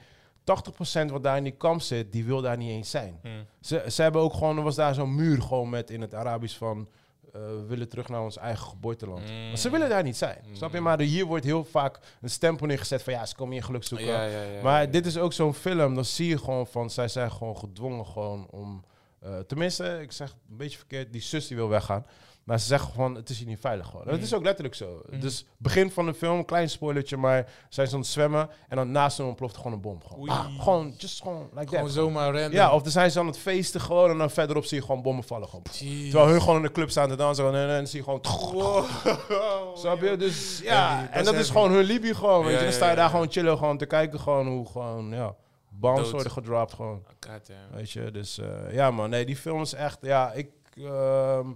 80% wat daar in die kamp zit, die wil daar niet eens zijn.
Hmm.
Ze, ze hebben ook gewoon, er was daar zo'n muur gewoon met in het Arabisch van, eh, we willen terug naar ons eigen geboorteland.
Mm.
Want Oh. ze willen daar niet zijn. Snap je? Maar hier wordt heel vaak een stempel neergezet van ja, ze komen hier geluk zoeken.
Ja, ja, ja, ja.
maar dit is ook zo'n film, dan zie je gewoon van, zij zijn gewoon gedwongen gewoon om... eh, tenminste, ik zeg een beetje verkeerd, die zus die wil weggaan. Maar ze zeggen gewoon, het is hier niet veilig gewoon. En
Mm.
Het is ook letterlijk zo. Dus begin van de film, klein spoilertje, maar zijn ze aan het zwemmen en dan naast hen ontploft gewoon een bom. Gewoon,
Oei.
Ah, gewoon just gewoon like
Gewoon
that.
zomaar random.
Ja, of dan zijn ze aan het feesten gewoon en dan verderop zie je gewoon bommen vallen gewoon.
Jeez.
Terwijl hun gewoon in de club staan te dansen en, en, en zie je gewoon...
Wow.
Snap je? Dus
Heavy,
ja,
Oh. dat
en
is
dat is
heavy.
gewoon hun Libië gewoon. Weet
Ja,
je. Dan
ja,
sta je
ja,
daar
ja.
gewoon chillen, gewoon te kijken gewoon hoe gewoon, ja, bombs
Dood.
worden gedropt gewoon.
God damn.
Weet je, dus eh, ja man, nee, die film is echt, ja, ik, ehm,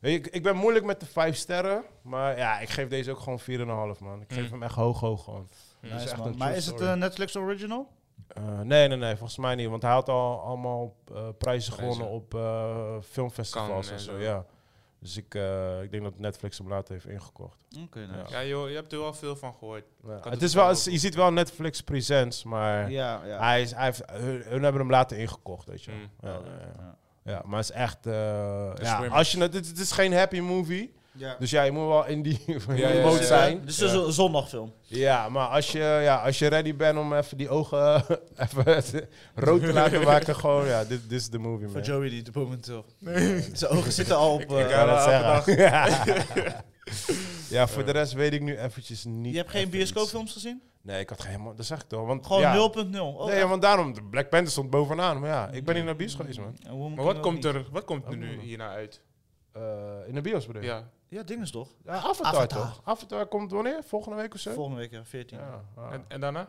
ik, ik ben moeilijk met de vijf sterren, maar ja, ik geef deze ook gewoon 4,5 man. Ik geef
Mm.
hem echt hoog, hoog gewoon.
Nice,
is echt
man.
een
Maar
true
is het
story.
een Netflix original?
Eh, nee, nee, nee, volgens mij niet, want hij had al allemaal eh, prijzen gewonnen op eh, filmfestivals
Cannes
en
en
zo,
zo.
ja. Dus ik, eh, ik denk dat Netflix hem later heeft ingekocht.
Oké, nice.
Ja.
Ja joh, je hebt er wel veel van gehoord.
Ja,
Kan
het
het
is
wel
wel, je ziet wel Netflix Presents, maar
Ja, ja.
hij is, hij heeft, hun, hun hebben hem later ingekocht, weet je.
Mm.
Ja, ja, Oh, ja.
Ja.
Ja, maar het is echt, eh, ja,
swimmers.
als je, het, het het is geen happy movie,
Ja.
dus ja, je moet wel in die in
Ja,
die
ja,
boot
ja, ja.
zijn.
Dus het is een zondagfilm.
Ja, maar als je, ja, als je ready bent om even die ogen even rood te laten maken, gewoon, ja, dit, dit is de movie,
Voor
man.
Joey die het momenteel. Zijn ogen zitten al op.
Ik
eh,
wou
Ja,
dat
elke
zeggen. Ja. ja, voor de rest weet ik nu eventjes niet.
je hebt geen
even iets.
bioscoopfilms gezien?
Nee, ik had geen, man, dat zeg ik toch. Want,
Gewoon
ja.
0.0. Oh,
nee,
echt?
want daarom, de Black Panther stond bovenaan. Maar ja, ik ben in de bios geweest, man.
En Woman
Maar
King
wat
ook
komt
niet.
er, wat komt er
Oh,
nu
man.
hierna uit?
Eh, in de bios bedoel je?
Ja.
Ja, ding is toch?
Ja, Avatar,
Avatar.
toch? Avatar komt wanneer? Volgende week of zo?
Volgende week, eh, ja, 14.
ja, ja.
En, en daarna?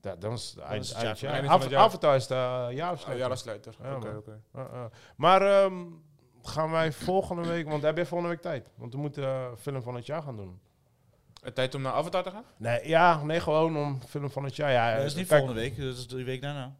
Da- dan is het eind-
is het
eind
jaar.
jaar.
Einde van het
Av-
jaar.
Avatar is de eh,
Oh,
jaarafsluiting.
ja, dat sluiter. Oké,
Ja,
oké.
man. Eh, eh. Maar ehm, gaan wij volgende week... Want heb jij volgende week tijd? Want we moeten eh, film van het jaar gaan doen.
Eh, Tijd om naar Avatar te gaan?
Nee, ja, nee, gewoon om film van het jaar. Ja,
Nee,
eh,
dat is niet
kijk,
volgende week, dat is die week daarna.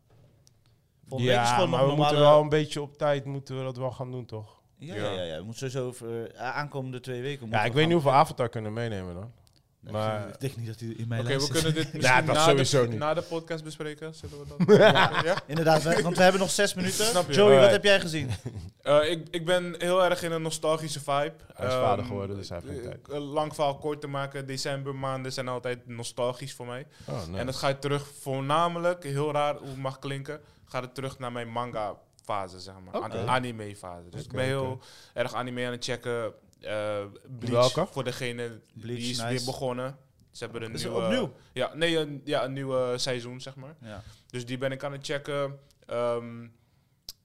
Volgende
Ja,
week is gewoon
maar
nog
we
normale...
moeten wel een beetje op tijd moeten we dat wel gaan doen, toch?
Ja, ja, ja, ja. We moeten sowieso over eh, aankomende twee weken...
Ja, ik weet niet hoeveel Avatar kunnen meenemen dan.
niet,
maar-
Ik denk niet dat hij in mijn
Oké,
lijst
we
zit.
kunnen dit misschien
dat
na,
sowieso
de,
niet.
na de podcast bespreken. Zullen we dat? ja.
Inderdaad, we- want we hebben nog zes minuten.
Snap je.
Joey, wat
Alright.
heb jij gezien?
Eh, ik, ik ben heel erg in een nostalgische vibe.
Hij is vader
Ehm,
geworden, dus hij heeft geen
eh,
tijd.
eh, Lang verhaal kort te maken, decembermaanden zijn altijd nostalgisch voor mij.
Oh, nee.
En dat gaat terug, voornamelijk, heel raar hoe het mag klinken, gaat het terug naar mijn manga fase, zeg maar.
Oké.
An- anime fase. Dus ik
Oké,
ben heel
oké.
erg anime aan het checken. Eh, Bleach,
Welke?
voor degene
Bleach,
die is
nice.
weer begonnen. Ze hebben een
Is het
nieuwe...
opnieuw?
Ja, nee, een, ja, een nieuwe seizoen, zeg maar.
Ja.
Dus die ben ik aan het checken. Ehm,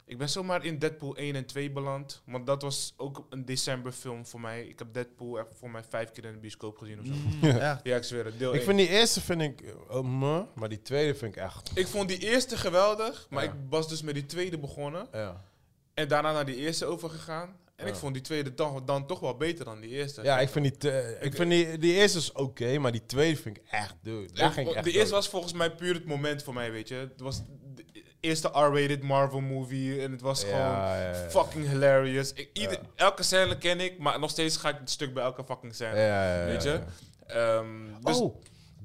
ik ben zomaar in Deadpool 1 en 2 beland. Want dat was ook een decemberfilm voor mij. Ik heb Deadpool echt voor mij vijf keer in de bioscoop gezien of zo.
ja.
Ja, ik zweer het. Deel
Ik
één.
vind die eerste vind ik eh, oh, meh, maar die tweede vind ik echt.
ik vond die eerste geweldig. Maar
Ja.
ik was dus met die tweede begonnen.
Ja,
En daarna naar die eerste overgegaan. En ik
Ja.
vond die tweede dan, dan toch wel beter dan die eerste.
ja ik vind die, te- ik vind die, die eerste is oké, maar die tweede vind ik echt dude. Daar ging ik
de
echt
eerste
dood.
was volgens mij puur het moment voor mij, weet je. Het was de eerste R-rated Marvel movie. En het was
Ja,
gewoon
ja, ja, ja.
fucking hilarious. Ik, ieder-
Ja.
Elke scène ken ik, maar nog steeds ga ik het stuk bij elke fucking
Ja,
scène.
ja, ja,
weet je?
ja, ja.
Ehm, dus
oh,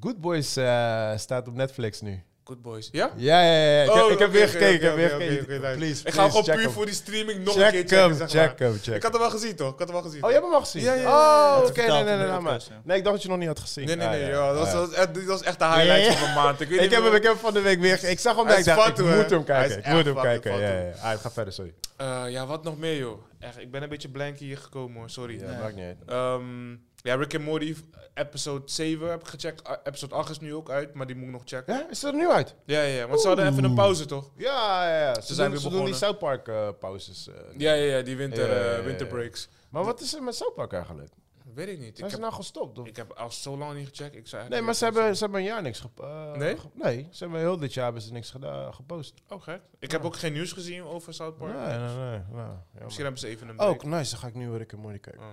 Good Boys eh, staat op Netflix nu.
Good Boys. Ja?
Ja, ja, ja. ja. Ik, heb-
Oh,
ik heb
oké,
weer
oké,
gekeken. ik
oké,
heb weer
oké,
gekeken.
oké, oké,
please,
ik ga
please,
gewoon
check
puur
hem.
voor die streaming nog
Check
een keer checken,
hem,
zeg maar.
check hem, check
Ik had het wel gezien, toch? Ik had het wel gezien.
Oh, je hebt hem al gezien?
Ja, ja, ja, ja.
Oh,
Dat
oké. Nee,
vertelde
nee,
ik in
nee,
de
nee, maar-
podcast, ja.
nee, ik dacht dat je nog niet had gezien.
Nee, nee,
Ah,
nee.
ja,
joh, dat,
ja.
was, dat, was echt de highlight
Ja, ja.
van mijn maand. Ik, weet
Ik
niet
heb, hem,
hoe-
ik heb hem van de week weer... ge- Ik zag hem
Hij
daar,
is
ik dacht, ik
fatu, hè?
moet hem
Hij is
kijken. Ik moet
echt
hem
fatu,
kijken. Ja,
fatu.
ja, ja. Ah, ga verder, sorry.
Eh, ja, wat nog meer, joh. Echt, ik ben een beetje blank hier gekomen, hoor. Sorry.
Ja, maakt niet uit.
Ehm, ja, Rick and Morty, episode 7 heb ik gecheckt. Eh, Episode 8 is nu ook uit, maar die moet ik nog checken.
Ja, is dat er nu uit?
Ja, ja, ja. Want ze hadden even een pauze, toch?
Ja, ja, ja. Ze,
zijn
doen,
weer
ze doen die
begonnen.
South Park eh, pauzes. eh.
Ja, ja, ja. Die winter,
Ja, ja, ja,
eh,
ja.
winterbreaks.
Maar wat is er met South Park eigenlijk?
Weet ik niet.
Zijn
Ik heb,
ze nou gestopt? Of?
ik heb al zo lang niet gecheckt. Ik zou
Nee,
eigenlijk
maar ze
niet
hebben,
weten
ze hebben een jaar niks gepost.
Nee?
Nee, ze hebben heel dit jaar hebben ze niks geda- gepost.
wat ze- Oh, gek. Ik heb ook geen nieuws gezien over South Park.
Nee, nou, nee, nee. nee. Jammer. Oh,
Misschien hebben ze even een break.
Ook, nice. Dan ga ik nu weer een keer mooi kijken.
Oh.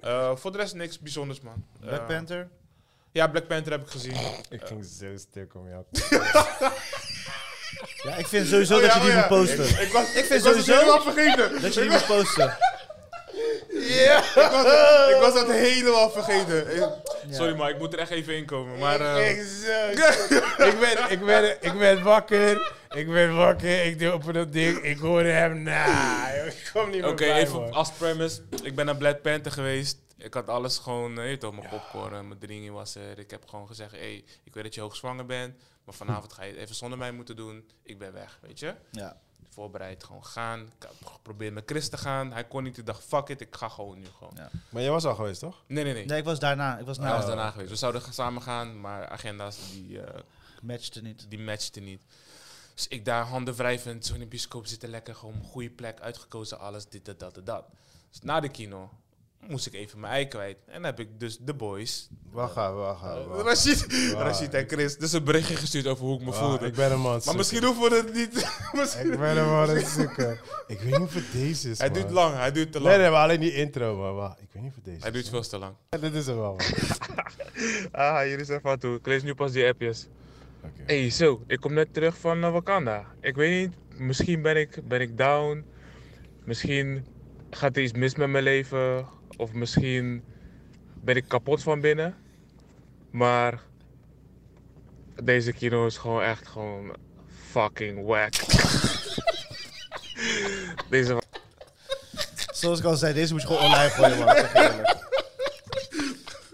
Eh, voor de rest niks bijzonders, man.
Black
Eh,
Panther.
Ja, Black Panther heb ik gezien.
Ik ging zo stuk om jou.
Ja, ik vind sowieso dat
Oh ja,
je die
oh ja.
moet posten.
Ik, was,
Ik vind
was het
sowieso-
helemaal vergeten.
Dat je die moet posten.
Ja, ik, was
Oh.
dat, ik was dat helemaal vergeten.
Ja.
Sorry, maar ik moet er echt even in komen. Maar, eh,
Ik zo stuk. ik, werd, ik, werd, ik werd wakker. Ik werd wakker. Ik deed op dat ding. Ik hoorde hem. Nah, joh, ik kom niet
Oké,
meer bij,
even
man.
als premise. Ik ben naar Black Panther geweest. Ik had alles gewoon, eh, je weet toch, mijn popcorn, en mijn drinking was er. Ik heb gewoon gezegd, hey, ik weet dat je hoogzwanger bent, maar vanavond ga je het even zonder mij moeten doen. Ik ben weg, weet je.
Ja.
Voorbereid, gewoon gaan. Ik heb geprobeerd met Chris te gaan. Hij kon niet, ik dacht, fuck it, ik ga gewoon nu gewoon.
Ja.
Maar jij was al geweest, toch?
Nee, nee, nee.
Nee, Oh. ik was daarna. Ik was
Hij Oh. was
na.
daarna geweest. We zouden gaan- samen gaan, maar agenda's die... eh,
Matchte niet.
die matchte niet. Dus ik daar handen wrijvend, zo in de bioscoop zitten lekker, gewoon een goede plek, uitgekozen, alles, dit, dat, dat, en dat. Dus na de kino moest ik even mijn ei kwijt. En heb ik dus de boys,
Wacht even, wacht
Oh,
eh,
even, wacht even.
Rashid,
Waar?
Rashid en Chris, dus een berichtje gestuurd over hoe ik me
Ah,
voelde.
Ik ben hem aan het
maar
zoeken.
misschien hoeven we het niet. misschien-
Ik ben hem aan het zoeken. Ik weet niet of het deze is,
hij
man.
duurt lang, hij duurt te lang.
Nee, nee, maar alleen die intro, man. Wacht, ik weet niet of het deze
Hij
is.
duurt veel te lang.
Ja, dit is hem wel, man.
Ah, jullie zijn van toe. Ik lees nu pas die appjes.
Oké.
Hey, zo, ik kom net terug van eh, Wakanda. Ik weet niet, misschien ben ik, ben ik down. Misschien gaat er iets mis met mijn leven. Of misschien ben ik kapot van binnen. Maar deze kino is gewoon echt gewoon fucking whack. deze
Zoals ik al zei, deze moet je gewoon online gooien, man. Echt eerlijk.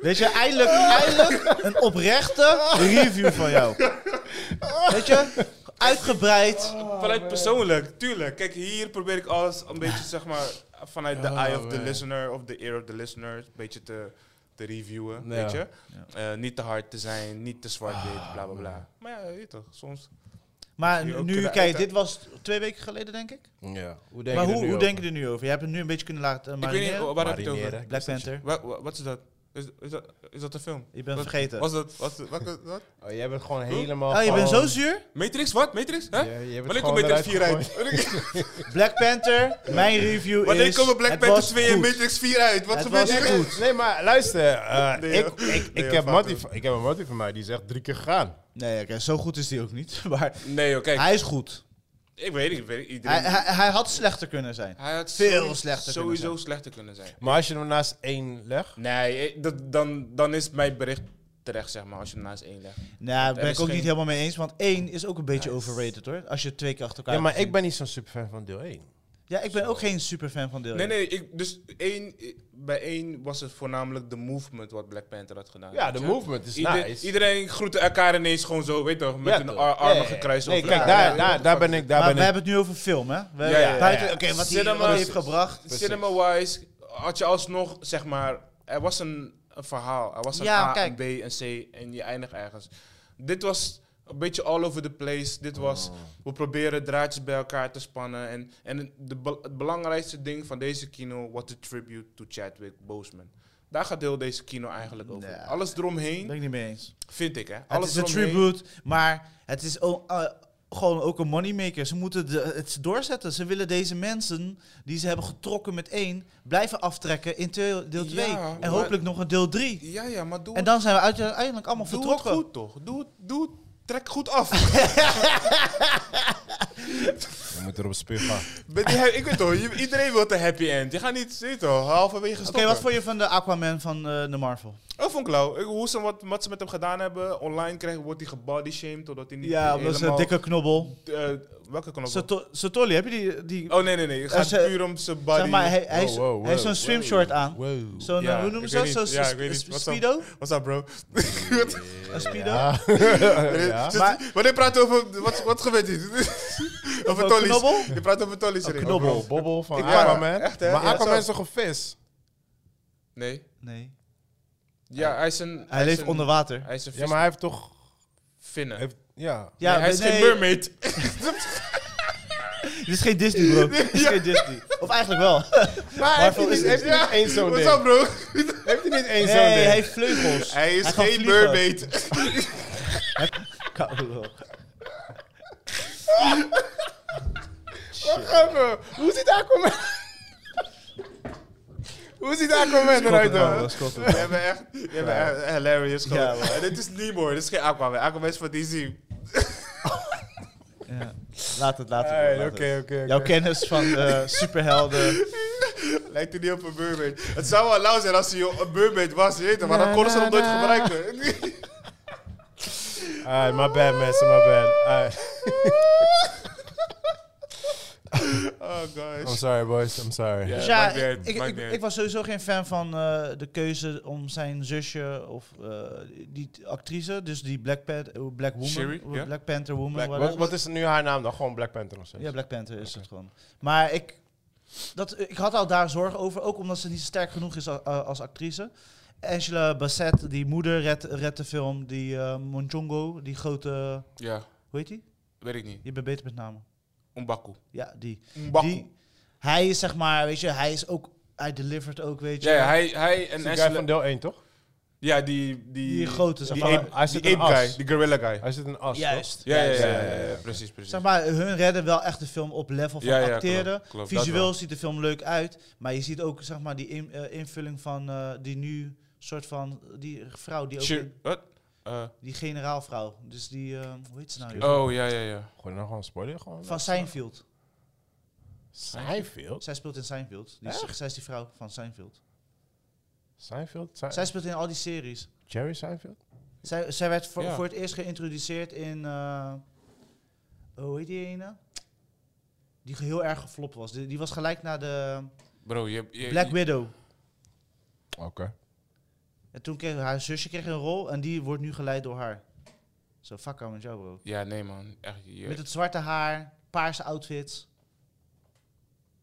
Weet je, eindelijk, eindelijk een oprechte review van jou. Weet je, uitgebreid.
vanuit
Oh,
persoonlijk, tuurlijk. Kijk, hier probeer ik alles een beetje, zeg maar, vanuit de
Oh,
eye of the
man.
listener of the ear of the listener, een beetje te, te reviewen,
Ja.
weet je. Eh, niet te hard te zijn, niet te zwart
Ah,
wit, bla bla bla. Maar ja, je weet toch, soms.
Maar
Hier ook
nu,
kunnen
kijk,
uiten.
dit was twee weken geleden, denk ik.
Ja. Hoe
maar hoe, hoe denk je er nu over? Je hebt het nu een beetje kunnen laten uh,
ik weet niet, oh,
marineren.
wa- waar heb je het over?
Marineren.
Black Panther.
Wa- wa- Wat is dat? Is, is, dat, is dat een film?
Je bent
Wat-
vergeten.
Was dat, was, wat, wat?
Oh, jij bent gewoon helemaal...
Oh, je bent zo
gewoon-
zuur?
Matrix, wat? Matrix? Hè?
Ja, jij bent
Wanneer
gewoon
komt Matrix
eruit
4 uit? Wanneer-
Black Panther, mijn review
Wanneer
is...
komen Black
het
Panther
was
2 en
goed.
Matrix 4 uit? Wat
Het
gebeurt
was
er?
Nee, nee, maar luister. eh,
Nee,
ik,
joh.
ik, ik,
Nee, joh,
heb
fuck
Matty
hem.
van- ik heb een mattie van mij die zegt drie keer gaan.
Nee, oké, zo goed is die ook niet. Maar
Nee joh, kijk.
hij is goed.
Ik weet niet, ik weet niet,
Hij,
iedereen...
hij, hij had slechter kunnen zijn.
Hij had
Veel
sowieso-
slechter kunnen
sowieso
zijn.
slechter kunnen zijn.
Maar als je hem naast één legt...
Nee, eh, dat, dan, dan is mijn bericht terecht, zeg maar, als je hem naast één legt.
Nou, daar ben
Er
ik ook
is geen-
niet helemaal mee eens. Want één is ook een beetje overrated hoor. Als je het twee keer achter elkaar
Ja, maar
hebt
ik ben niet zo'n superfan van deel 1.
gezien. ja, ik ben ook geen superfan van deel
Nee,
één.
nee, ik, dus één, eh, bij één was het voornamelijk de movement wat Black Panther had gedaan.
Ja,
weet
de
je?
movement is
Ieder-
nice.
Iedereen groette elkaar ineens gewoon zo, weet toch, met
Ja,
hun
toch.
ar-
Ja,
armen
ja, ja.
gekruist.
Nee,
over
kijk,
elkaar.
daar, daar, daar ben ik...
Maar
Daar
we
ben ik
hebben het nu over film, hè? We
ja, ja,
buiten,
ja.
Oké, wat hij
Cinema
wat hij
is-
heeft gebracht.
Cinema-wise had je alsnog, zeg maar, er was een, een verhaal. Er was een
Ja,
A,
kijk.
een B, een C en je eindigt ergens. Dit was een beetje all over the place. Dit
Oh.
was, we proberen draadjes bij elkaar te spannen. En, en de, be- het belangrijkste ding van deze kino was de tribute to Chadwick Boseman. Daar gaat heel deze kino eigenlijk over.
Ja.
Alles
Daar
eromheen,
ben ik niet mee eens.
vind ik, hè.
Het
Alles
is een
eromheen.
tribute, maar het is o- eh, gewoon ook een moneymaker. Ze moeten de, het doorzetten. Ze willen deze mensen die ze hebben getrokken met één blijven aftrekken in teel- deel
Ja,
2. en
maar-
hopelijk nog een deel 3.
Ja, ja, maar doe
En dan zijn we uite- uiteindelijk allemaal
Doe
vertrokken.
het goed toch? Doe het, doe het. Trek goed af.
We moeten erop spuug gaan.
Ben die he- ik weet toch, je- iedereen wil de happy end. Je gaat niet zitten, halverwege
Oké,
stoppen.
wat vond je van de Aquaman van eh, de Marvel?
Oh, vond ik lauw. Ik- Hoe ze wat, wat ze met hem gedaan hebben, online krijgen, wordt hij gebodyshamed totdat hij niet
Ja, dat was een
helemaal...
dikke knobbel.
eh, welke knop?
Sato- Satolli, heb je die... die
oh, nee, nee, nee. Het gaat
ze-
puur om zijn body.
zeg maar, hij, hij, is-
Wow, wow,
hij heeft zo'n
wow,
swimshort aan.
Wow.
Zo'n,
Ja,
eh, hoe noemen
ik
ze dat?
weet
Zo'n
niet. Ja, ik weet
s-
niet. Wat
s-
dan?
speedo?
What's up, bro?
Een speedo?
Ja. Ja.
Dus
Maar-
Wanneer praat je over... Wat, wat gebeurt hier? over
een
tollies.
knobbel?
Je praat over tollies,
Een
Rick.
knobbel.
Bobbel, bobbel van
Ik- ja,
Aquaman.
echt, hè?
maar
Ja,
Aquaman
zo.
is toch een vis?
Nee.
Nee.
Ja, hij is een...
Hij
is
leeft
een-
onder water.
Hij is een
Ja, maar hij heeft toch...
visvinnen.
Heeft, ja.
Ja,
Nee, hij is
nee,
geen
nee,
mermaid.
Dit is geen Disney, bro. Dit is geen Disney. Of eigenlijk wel.
Maar heeft hij
is
niet,
het?
heeft hij niet één zo'n
What's
ding?
up, bro?
Heeft hij niet één zo'n
Nee,
ding?
hij heeft vleugels.
Hij is
kan
geen
vliegen.
mermaid.
Koude lul.
Wacht even. Hoe ziet Aquaman?
Hoe ziet Aquaman eruit
Scotland,
dan?
dat is Scotland.
Jij bent echt, jij bent
Ja.
echt hilarious. gewoon.
Ja, man.
En dit is niet mooi, dit is geen Aquaman. Aquaman is van DC.
Ja. Laat het, laat het.
Hey,
laat het.
Oké, oké.
Jouw
oké.
kennis van eh, superhelden.
Lijkt hij niet op een mermaid. Het zou wel lauw zijn als hij een mermaid was, je weet het, maar dan konden ze hem nooit gebruiken.
Alright, my bad, mensen, my bad. Alright.
Oh
I'm
gosh.
sorry, boys, I'm sorry.
Ja.
Dus
maakt
ja,
niet uit,
ik, ik,
maakt niet
ik-
uit.
ik was sowieso geen fan van eh, de keuze om zijn zusje of eh, die t- actrice, dus die Black, Pant- eh, Black Woman,
Shiri,
eh,
ja.
Black Panther Woman.
Black-
whatever.
wat, wat is nu haar naam dan? Gewoon Black Panther nog steeds?
ja, Black Panther is het gewoon. Maar ik, dat, ik had al daar zorgen over, ook omdat ze niet sterk genoeg is a- a- als actrice. Angela Bassett, die moeder, redt redt de film. Die eh, Monchongo, die grote,
Ja,
hoe heet die?
weet ik niet.
Je bent beter met namen.
Umbaku.
Ja, die.
Umbaku.
Die, hij is zeg maar, weet je, hij is ook, hij delivered ook, weet je.
Ja, ja, hij, hij
Is
en
die guy van
Angela...
deel 1, toch?
Ja, die... Die,
Die grote, zeg
Die
maar.
ape- hij zit
die
in
ape
as.
guy, die gorilla guy.
Hij zit in As, toch?
Juist.
Ja, ja,
juist.
ja, ja, ja, ja, precies, precies.
Zeg maar, hun redden wel echt de film op level van
Ja, ja,
acteren.
klopt, klopt, dat
Visueel
wel.
ziet de film leuk uit, maar je ziet ook zeg maar, die in- eh, invulling van eh, die nu soort van die vrouw, die, ook
Sure. Wat? Eh,
die generaalvrouw. Dus die, eh, hoe heet ze nou? joh?
oh, ja, ja, ja.
Gooi nou gewoon spoiler gewoon.
Van Seinfeld.
Seinfeld?
Zij speelt in Seinfeld. Die,
Echt?
zij is die vrouw van Seinfeld.
Seinfeld? Sein-
Zij speelt in al die series.
Jerry Seinfeld?
Zij, zij werd voor,
Ja.
voor het eerst geïntroduceerd in. eh, hoe heet die ene? Die heel erg geflopt was. Die, die was gelijk na de
Bro, je hebt... je-
Black
je-
Widow.
Oké.
En toen kreeg haar zusje kreeg een rol en die wordt nu geleid door haar. Zo, fuck aan met jou, bro.
Ja, nee, man. Echt, je-
Met het zwarte haar, paarse outfits.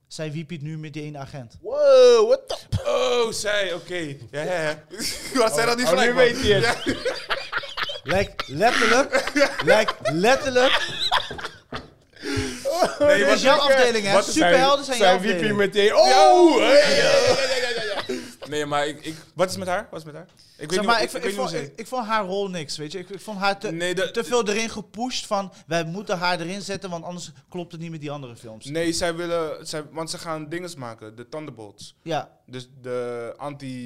Zij wiepiet nu met die ene agent.
Wow, what the...
Oh, zij, oké. Ja, ja, ja. Wat zij dat niet
oh,
gelijk,
nu
man?
weet hij het.
Ja.
Lijkt letterlijk, lijkt letterlijk.
Nee,
Dit
wat-
is jouw afdeling, hè?
wat-
Superhelden zijn jouw
Zijn wiepie
afdeling.
meteen. Oh! hey.
Nee, maar ik, ik... Wat is met haar? Wat is met haar? Ik
Zeg
niet
maar,
hoe-
ik, ik,
weet niet
vond,
hoe ze-
ik, ik vond haar rol niks, weet je. Ik, ik vond haar te,
Nee, dat-
te veel erin gepusht van... wij moeten haar erin zetten, want anders klopt het niet met die andere films.
Nee, zij willen... Zij, want ze gaan dinges maken. De Thunderbolts.
Ja,
Dus de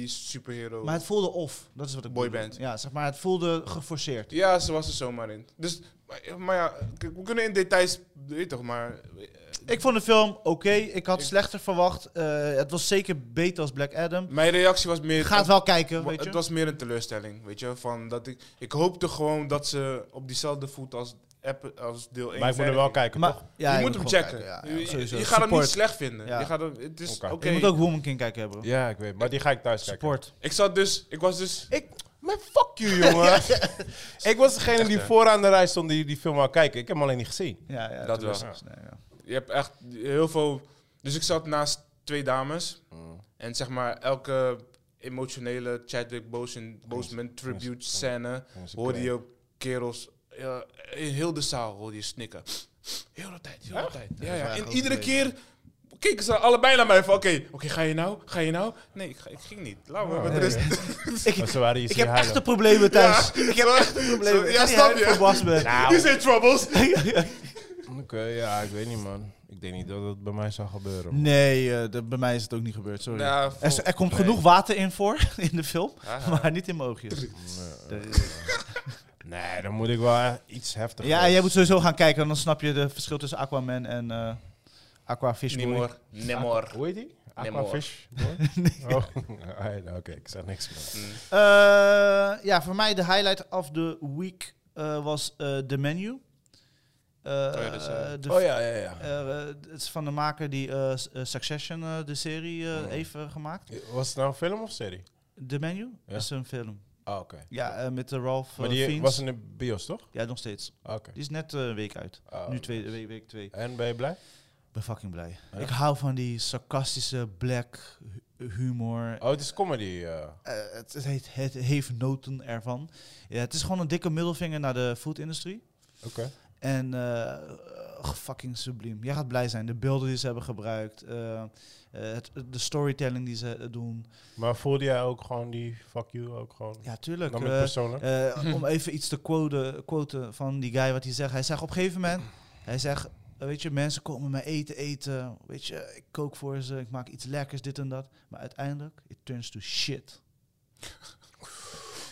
anti-superhero.
maar het voelde off. Dat is wat ik bedoel.
Boyband.
Ja, zeg maar, het voelde geforceerd.
Ja, ze was er zomaar in. Dus, maar, maar ja, kijk, we kunnen in details... Weet je toch, maar...
Ik vond de film oké. Ik had slechter verwacht. Eh, het was zeker beter als Black Adam.
Mijn reactie was meer...
Gaat wel kijken,
Wa-
weet je.
Het was meer een teleurstelling, weet je. Van dat ik, ik hoopte gewoon dat ze op diezelfde voet als, app, als deel 1
Maar ik moet er wel kijken,
Maar-
toch?
ja,
je
ik
moet hem
gewoon
checken.
kijken, ja,
Je-
ja, sowieso.
je, gaat hem niet
Support.
slecht vinden.
Ja.
Je, gaat hem, het is,
Oké.
oké.
Je
Je moet ook Woman King kijken, bro.
Ja, ik weet. Maar die ga ik thuis kijken.
Support.
ik, zat dus, ik was dus...
Man, fuck you, jongen. ik was degene die vooraan de rij stond die die film wou kijken. Ik heb hem alleen niet gezien.
Ja, ja,
Dat
toen was
wel.
het- nee, ja.
Je hebt echt heel veel... Dus ik zat naast twee dames.
Mm.
En zeg maar, elke emotionele Chadwick Boseman, Boseman tribute scène... hoorde je kerels... ja, in heel de zaal hoorde je snikken. Heel de tijd, heel de tijd. Ja, ja.
waar,
En
ook
iedere
een
keer keken ze allebei naar mij van... Oké, oké, ga je nou? Ga je nou? Nee, ik, ga- ik ging niet. Laat me met
nee.
rust.
Maar
Ik,
Oh, ze waren je
ik
zien
heb
huilen.
echte problemen thuis.
ik heb echt een
Problemen. Ik
Ja,
ga niet
snap
huilen voor
je? Nou.
Wasbeck.
These zijn troubles.
Oké, ja, ik weet niet, man. Ik denk niet dat dat bij mij zou gebeuren. man.
Nee, eh, dat- bij mij is het ook niet gebeurd, sorry.
Nou,
er, is- er komt genoeg water in voor in de film,
Haha.
maar niet in mijn oogjes.
Nee, dan moet ik wel eh, iets heftiger.
Ja, en jij moet sowieso gaan kijken, dan snap je de verschil tussen Aquaman en eh Aquafish.
Nemor. Nemor.
Hoe heet die? Aquafish? Oh, alright, oké, ik zeg niks meer.
Mm.
Eh, ja, voor mij de highlight of the week eh, was eh The Menu. Eh,
ja, dat is, eh,
de
Oh ja, ja, ja.
eh, eh, het is van de maker die eh, S- eh, Succession, eh, de serie, eh,
Oh.
heeft eh, gemaakt.
Was het nou een film of serie?
The Menu
Ja.
is een film.
Ah, oké.
Ja, eh, met de Ralph
Maar
eh,
die
Fiennes.
was in de bios, toch?
Ja, nog steeds.
Ah, Oké.
Die is net eh, een week uit.
Ah,
nu
oké.
twee, week, week twee. Ik
En ben je blij?
ben fucking blij. Ik hou van die sarcastische black hu- humor.
Oh, het is comedy. eh.
Eh, het, het, heet, het heeft noten ervan. Ja, het is gewoon een dikke middelvinger naar de food-industrie.
Oké.
En eh, oh, fucking subliem. Jij gaat blij zijn. De beelden die ze hebben gebruikt. eh, eh, het, de storytelling die ze eh, doen.
Maar voelde jij ook gewoon die fuck you ook gewoon?
Ja, tuurlijk.
Nam je het
eh,
persoonlijk?
eh, om even iets te quoten, quoten van die guy wat hij zegt. Hij zegt op een gegeven moment... Hij zegt, Eh, weet je, mensen komen mij eten, eten. Weet je, ik kook voor ze, ik maak iets lekkers, dit en dat. Maar uiteindelijk, it turns to shit.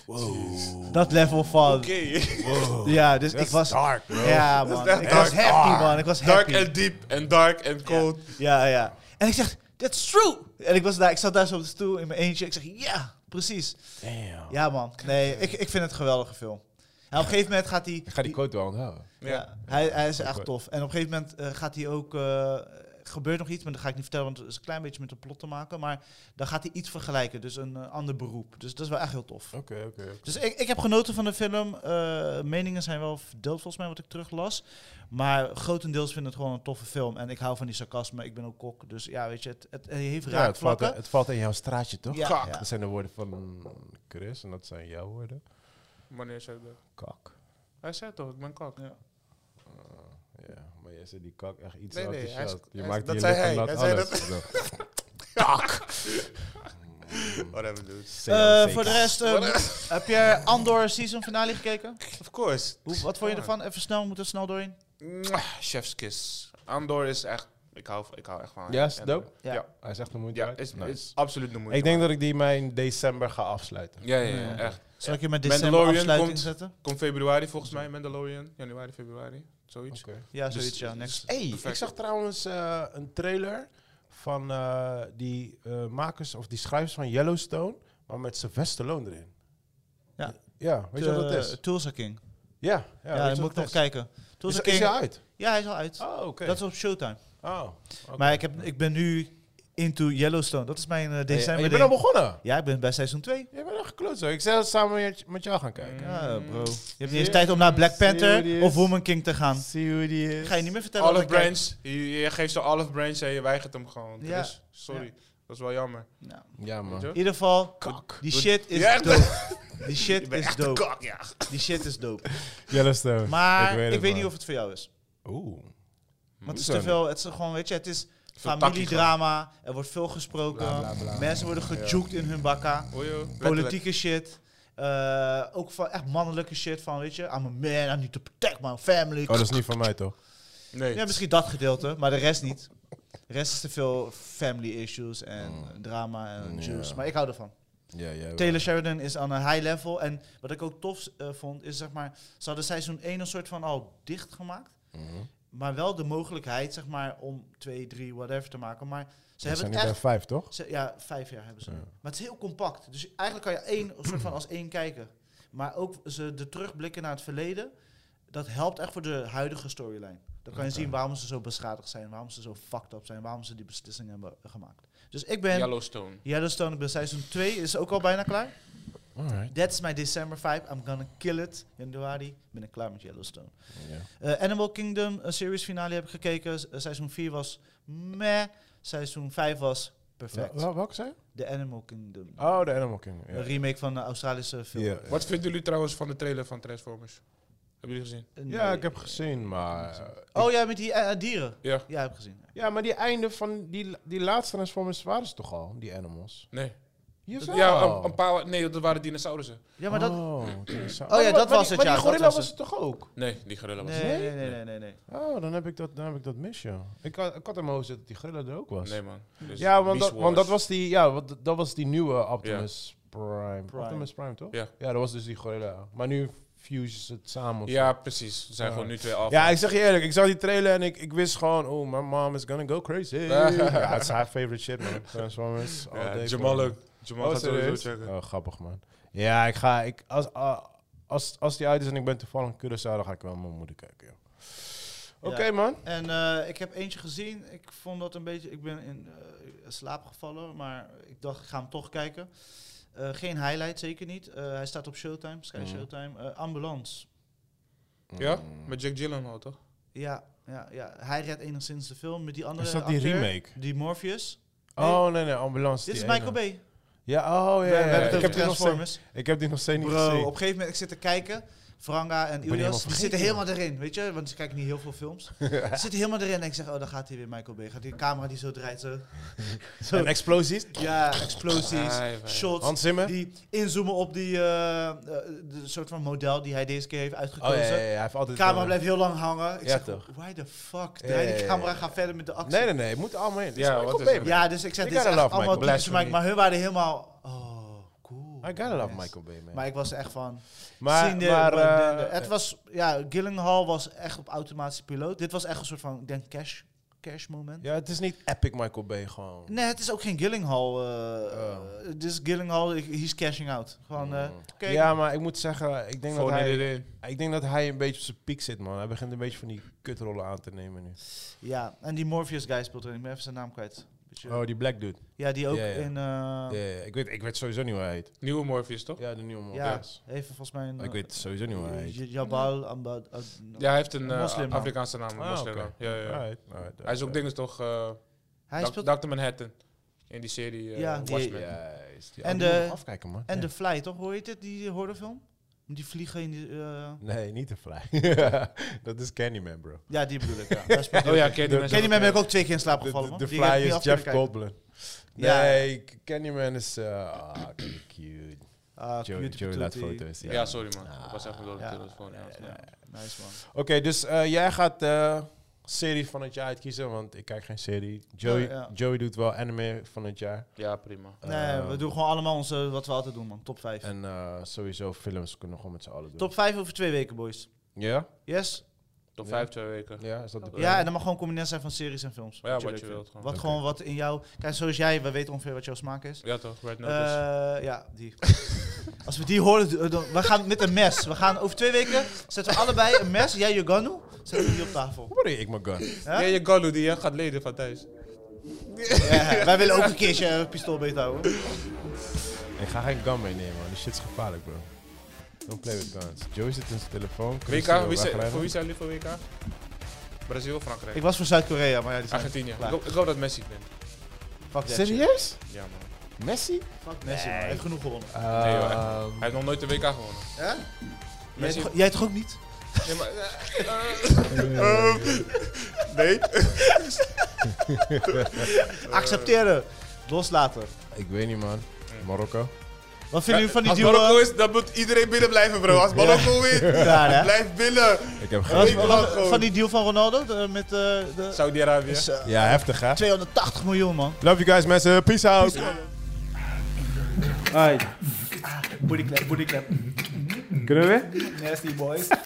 Wow.
Dat level van...
Oké.
wow.
Ja, dus
That's
ik was...
dark, bro.
Ja,
Dat is
man.
echt
Ik was
dark.
happy, man. Ik was
Dark
happy.
en diep en dark en cold.
Ja, ja. En ik zeg, that's true. En ik, was daar, ik zat daar zo op de stoel in mijn eentje. Ik zeg, ja, precies.
Damn.
Ja, man. Nee, ik, ik vind het een geweldige film. En op een gegeven moment gaat hij...
Ik ga die quote wel onthouden.
Ja,
Ja.
Hij, hij is echt
Ook
tof. En op een gegeven moment eh, gaat hij ook... eh, gebeurt nog iets, maar dat ga ik niet vertellen... want het is een klein beetje met een plot te maken. Maar dan gaat hij iets vergelijken. Dus een eh, ander beroep. Dus dat is wel echt heel tof.
Oké, oké. oké.
Dus ik, ik heb genoten van de film. Eh, meningen zijn wel verdeeld volgens mij wat ik teruglas. Maar grotendeels vind ik het gewoon een toffe film. En ik hou van die sarcasme. Ik ben ook kok. Dus ja, weet je, het, het heeft
Ja, het valt,
raakvlakken.
het valt in jouw straatje, toch?
Ja,
Kak.
ja.
Dat zijn de woorden van Chris en dat zijn jouw woorden.
Wanneer zei dat?
Kak.
Hij zei toch, ik ben kak. Ja.
Ja, maar jij zei die kak echt iets
Nee,
uit
nee,
de
hij is-
shot. Je
hij is-
maakt
dat
die
zei
lippen
hij.
nat
Hij zei
alles. Zo.
Kak! Whatever, dude.
Eh,
CLC.
voor de rest, eh, heb je Andor season finale gekeken?
Of course.
Hoe, wat vond je ervan? Even snel, we moeten er snel doorheen.
Mwah, Chef's kiss. Andor is echt... Ik hou, ik hou echt van
Ja, is het
Andor.
dope?
Ja.
Ja,
Hij is echt een moeite
ja
waard.
is,
Nice.
is absoluut de moeite.
Ik denk Mm. dat ik die mijn december ga afsluiten.
Ja, ja, ja,
Ja.
echt.
Zal ik je met
Mandalorian
december afsluiting
komt-
zetten?
Komt februari volgens mij, Mandalorian. Januari, februari. Zoiets.
Oké.
Ja,
Dus-
zoiets, ja. Next.
Hey,
Perfect.
ik zag trouwens eh, een trailer van eh, die eh, makers of die schrijvers van Yellowstone, maar met Sylvester Stallone erin.
Ja.
Ja, weet je wat dat
Eh,
is?
Tulsa King.
Ja,
Ja,
ja,
dan moet ik nog kijken.
Toen
Tulsa
is, is
King.
hij uit?
Ja, hij is al uit.
Oh, oké.
Dat is op Showtime.
Oh, oké.
Maar ik, heb, ik ben nu into Yellowstone. Dat is mijn eh,
Hey,
december.
Oh, je bent al
ding.
begonnen.
ja, ik ben bij seizoen 2.
Je bent al gekloot zo. Ik zei dat samen met, met jou gaan kijken.
Ja, bro. Je hebt niet eens
Serieus?
tijd om naar Black Panther
Serieus?
of Woman King te gaan.
Zie hoe die
Ik
is.
ga je niet meer vertellen.
Olive
wat ik kijk.
branch. Je, je geeft zo olive branch en je weigert hem gewoon.
Ja.
Dus, sorry. Dat is wel jammer.
Nou,
Ja,
Weet je
man.
wel?
in ieder geval,
Kak.
die shit is
Ja, echt.
dope. Die
Je
shit
bent
is
echt een
dope.
kak, ja.
Die shit is dope.
Yellowstone.
Maar ik
het,
weet,
man.
niet of het voor jou is.
Oeh. Oh,
Want het is
Hoezo
te veel. Het is gewoon, weet je, het is
takkie
familiedrama. Er wordt veel gesproken.
Bla, bla, bla.
Mensen worden gejoekt in hun bakka.
Oei, oei. Letterlijk.
Politieke shit. Eh, ook van echt mannelijke shit van, weet je, I'm a man, I'm need to protect my family.
Oh, dat is niet van mij, toch?
Nee.
Ja, misschien dat gedeelte, maar de rest niet. De rest is te veel family issues en drama en
Oh. Ja.
juice. Maar ik hou ervan.
Ja, ja.
Taylor Sheridan is aan een high level. En wat ik ook tof eh, vond, is zeg maar, ze hadden seizoen 1 een soort van al dichtgemaakt. Maar wel Mhm. de mogelijkheid, zeg maar, om 2, 3, whatever te maken. Maar ze
Ze zijn
hebben
nu
het
bij
echt.
vijf, toch?
ze- ja, vijf jaar hebben ze.
Ja.
Maar het is heel compact. Dus eigenlijk kan je één soort van als één kijken. Maar ook ze de terugblikken naar het verleden, dat helpt echt voor de huidige storyline. Dan kan je zien waarom ze zo beschadigd zijn, waarom ze zo fucked up zijn, waarom ze die beslissingen hebben gemaakt. Dus ik ben
Yellowstone.
Yellowstone, ik ben seizoen 2, is ook al bijna klaar.
Alright.
That's my December vibe. I'm gonna kill it. Januari ben ik klaar met Yellowstone.
Ja.
Eh, Animal Kingdom, een series finale heb ik gekeken. S- eh, seizoen 4 was meh. Seizoen 5 was perfect.
Wel- wel- welke zijn?
The Animal Kingdom.
Oh, de Animal King. Ja.
Een remake van de Australische film.
Ja, ja.
Wat vinden jullie trouwens van de trailer van Transformers? Hebben jullie gezien?
Eh, Nee.
Ja, ik heb gezien, maar...
Oh ja, met die eh, dieren.
Ja.
Ja, ik heb gezien.
Ja, maar die einde van die, die laatste Transformers waren ze toch al, die animals?
Nee.
Jawel.
Ja, een, een paar... Nee, dat waren dinosaurussen.
Ja, maar dat...
Oh, dat
Oh ja, dat was het,
Maar
ja,
die
dat
gorilla
was
was,
het.
het toch ook?
Nee, die gorilla was
Nee,
het.
nee, nee, nee, nee. nee.
Oh, dan heb ik dat, dan heb ik dat mis, ja. Ik, had- ik had in mijn hoofd zitten dat die gorilla er ook was.
Nee, man. Dus
ja, want
Beast
dat, want dat
Wars.
was die, ja, want dat was die nieuwe Optimus Prime.
Prime.
Optimus Prime, toch?
Ja.
Ja, dat was dus die gorilla. Maar nu fusen ze het samen. of
Ja, precies. Ze zijn
Ja.
gewoon nu twee af.
Ja, ik zeg je eerlijk, ik zag die trailer en ik, ik wist gewoon, oh, my mom is gonna go crazy. ja, het is haar favorite shit, man. Transformers. all day,
Jamal
man.
ook. Jamal
Oh,
gaat sowieso
serieus?
checken.
Oh, grappig, man. Ja, ik ga, ik, als, ah, als, als die uit is en ik ben toevallig in Curaçao, dan ga ik wel met mijn moeder kijken, joh. Oké,
Ja.
man.
En eh, ik heb eentje gezien. Ik vond dat een beetje. Ik ben in eh, slaap gevallen, maar ik dacht, ik ga hem toch kijken. Eh, geen highlight, zeker niet. Eh, hij staat op Showtime, Sky
Mhm.
Showtime. Eh, ambulance.
Ja? Met Jack Gyllenhaal, toch?
Ja, ja, ja, hij redt enigszins de film met die andere.
Is dat die
acteur,
remake?
Die Morpheus.
Oh, nee, nee, ambulance.
Dit is
die
Michael
ene.
B. We
Ja, oh, ja, ja.
hebben
ja,
het
Ik heb die
over
nog steeds-
Transformers.
ik heb die nog steeds niet
Bro, op
gezien.
een gegeven moment, ik zit te kijken. Franga en
helemaal
Ilias, die
vergeten,
zitten
joh.
helemaal erin, weet je? Want ze kijken niet heel veel films. Ze zitten helemaal erin en ik zeg, oh, daar gaat hij weer Michael Bay. Gaat die camera die zo draait, zo. zo.
En explosies.
ja, explosies,
Ah, ja, ja.
shots.
Hans Zimmer.
Die inzoomen op die eh, eh, de soort van model die hij deze keer heeft
Oh ja,
uitgekozen.
ja, ja, hij heeft
De
altijd... eh,
camera blijft heel lang hangen. Ik
Ja,
zeg,
toch.
why the fuck?
Ja,
Draai
ja, ja,
die
ja.
camera, ga verder met de actie.
Nee, nee, nee. Het moet allemaal in.
Ja,
Ja,
wat
wat
is
baby.
het?
Ja, dus ik zeg,
You
dit is
gotta
echt
love
allemaal
Michael.
typisch voor Mike. Maar hun waren helemaal, oh, cool.
I gotta love
Yes.
Michael Bay, man.
Maar ik was echt van,
Maar,
zien de-
maar,
de-
eh,
de- het was, ja, Gillenhall was echt op automatische piloot. Dit was echt een soort van, ik denk, cash, cash moment.
ja, het is niet epic Michael Bay gewoon.
Nee, het is ook geen Gillinghall.
Oh.
Het is Gillinghall, ik- he's cashing out. Gewoon, eh,
Mm.
oké.
Ja, maar ik moet zeggen, ik denk, dat
Gewoon niet
hij,
erin.
ik denk dat hij een beetje op zijn piek zit, man. Hij begint een beetje van die kutrollen aan te nemen nu.
Ja, en die Morpheus guy speelt erin. Ik ben even zijn naam kwijt. Beetje-
Oh, die black dude.
Ja, die ook
ja, ja.
in... eh,
Ja, ja, ik, weet, ik weet sowieso niet hoe hij heet.
Nieuwe Morpheus, toch?
Ja, de nieuwe man.
Ja, even volgens mij een... eh,
Ik weet sowieso niet hoe hij heet.
J- Jabal Ambad.
Ja, hij heeft een eh,
Moslim, man.
Afrikaanse naam. een
Ah,
moslim
oké.
naam. Ja, ja, ja.
Alright, alright,
Hij is ook
alright.
dingen toch... eh
Hij
Doc-
speelt
Dr. Manhattan. In die serie eh
Ja, die-
Watchmen.
Juist. Ja,
En
die moet
de-
ik nog afkijken, man.
en
Ja.
The Fly, toch? Hoor je dit, die eh, horrorfilm? Die vliegen in die... eh,
Nee, niet de fly. dat is Candyman, bro.
Ja, die bedoel ik, ja. Daar speelt hij
Oh ja,
ook in.
Candyman. is
Candyman
ook-
ben ik ook twee keer in slaap
De, de,
gevallen, man.
de
Die heb ik
fly
niet
is
af
Jeff
kunnen kijken.
Goldblum.
Ja.
Nee, K- Candyman is... eh ah, cute.
Ah,
Joey,
Beauty
Joey laat
Beauty.
foto's.
Ja,
ja.
sorry man. Ik was even door de
Ja.
telefoon. Ja, sorry.
Ja, nice man.
Oké, dus eh, jij gaat eh, serie van het jaar uitkiezen, want ik kijk geen serie. Joey,
Oh, ja.
Joey doet wel anime van het jaar.
Ja, prima.
Nee,
Eh,
we doen gewoon allemaal onze, wat we altijd doen, man. Top 5.
En eh, sowieso films kunnen we gewoon met z'n allen doen.
Top 5 over twee weken, boys.
Ja?
Yes?
Top
Ja.
5 twee weken.
Ja, is dat de
Ja, en dan mag gewoon combinatie zijn van series en films.
Ja, wat je
leuk
wilt
vindt.
gewoon.
Wat
Oké.
gewoon wat in jou... Kijk, zoals jij, we weten ongeveer wat jouw smaak is.
Ja toch, Red Notice.
Eh ja, die. Als we die horen, eh, dan, we gaan met een mes. We gaan over twee weken zetten we allebei een mes. Jij je ganu, zetten we die op tafel.
Hoor je, ik mijn gun.
hè?
Ja, je Gallo die eh, gaat leden van thuis.
Ja, wij willen ook een keertje een pistool beet houden.
Ik ga geen gun meenemen, man. Die shit is gevaarlijk, bro. Don't play with guns. Joey zit in zijn telefoon. Chris wil
WK, wie zijn-
wegrijden.
voor wie zijn jullie voor WK? Brazil, Frankrijk,
Ik was voor Zuid-Korea, maar ja, die zijn
Argentinië. Ik
klaar.
hoop, ik hoop dat Messi het wint.
Fuck that shit.
Serieus?
Ja man.
Messi?
Fuck Messi, man. Hij heeft genoeg gewonnen.
Nee, joh,
Ehm,
Hij heeft nog nooit de WK gewonnen.
Hè? Jij,
Messi.
toch- jij toch ook niet?
Nee, maar, eh, Eh.
Accepteren. Loslaten.
ik weet niet, man. Marokko?
Wat vinden jullie van die
Eh, als
duo?
Marokko is, dan moet iedereen binnen blijven bro. Als Marokko wint,
Daar, hè?
blijf binnen.
Ik heb
Wat-
geen...
wil
wat-
dat gewoon.
van die deal van Ronaldo de- met eh, de...
Saudi-Arabië.
is, eh,
Ja, heftig, hè?
280 miljoen, man.
Love you guys, mensen. Peace out.
Booty clap, booty clap.
Kunnen we weer?
Nasty boys.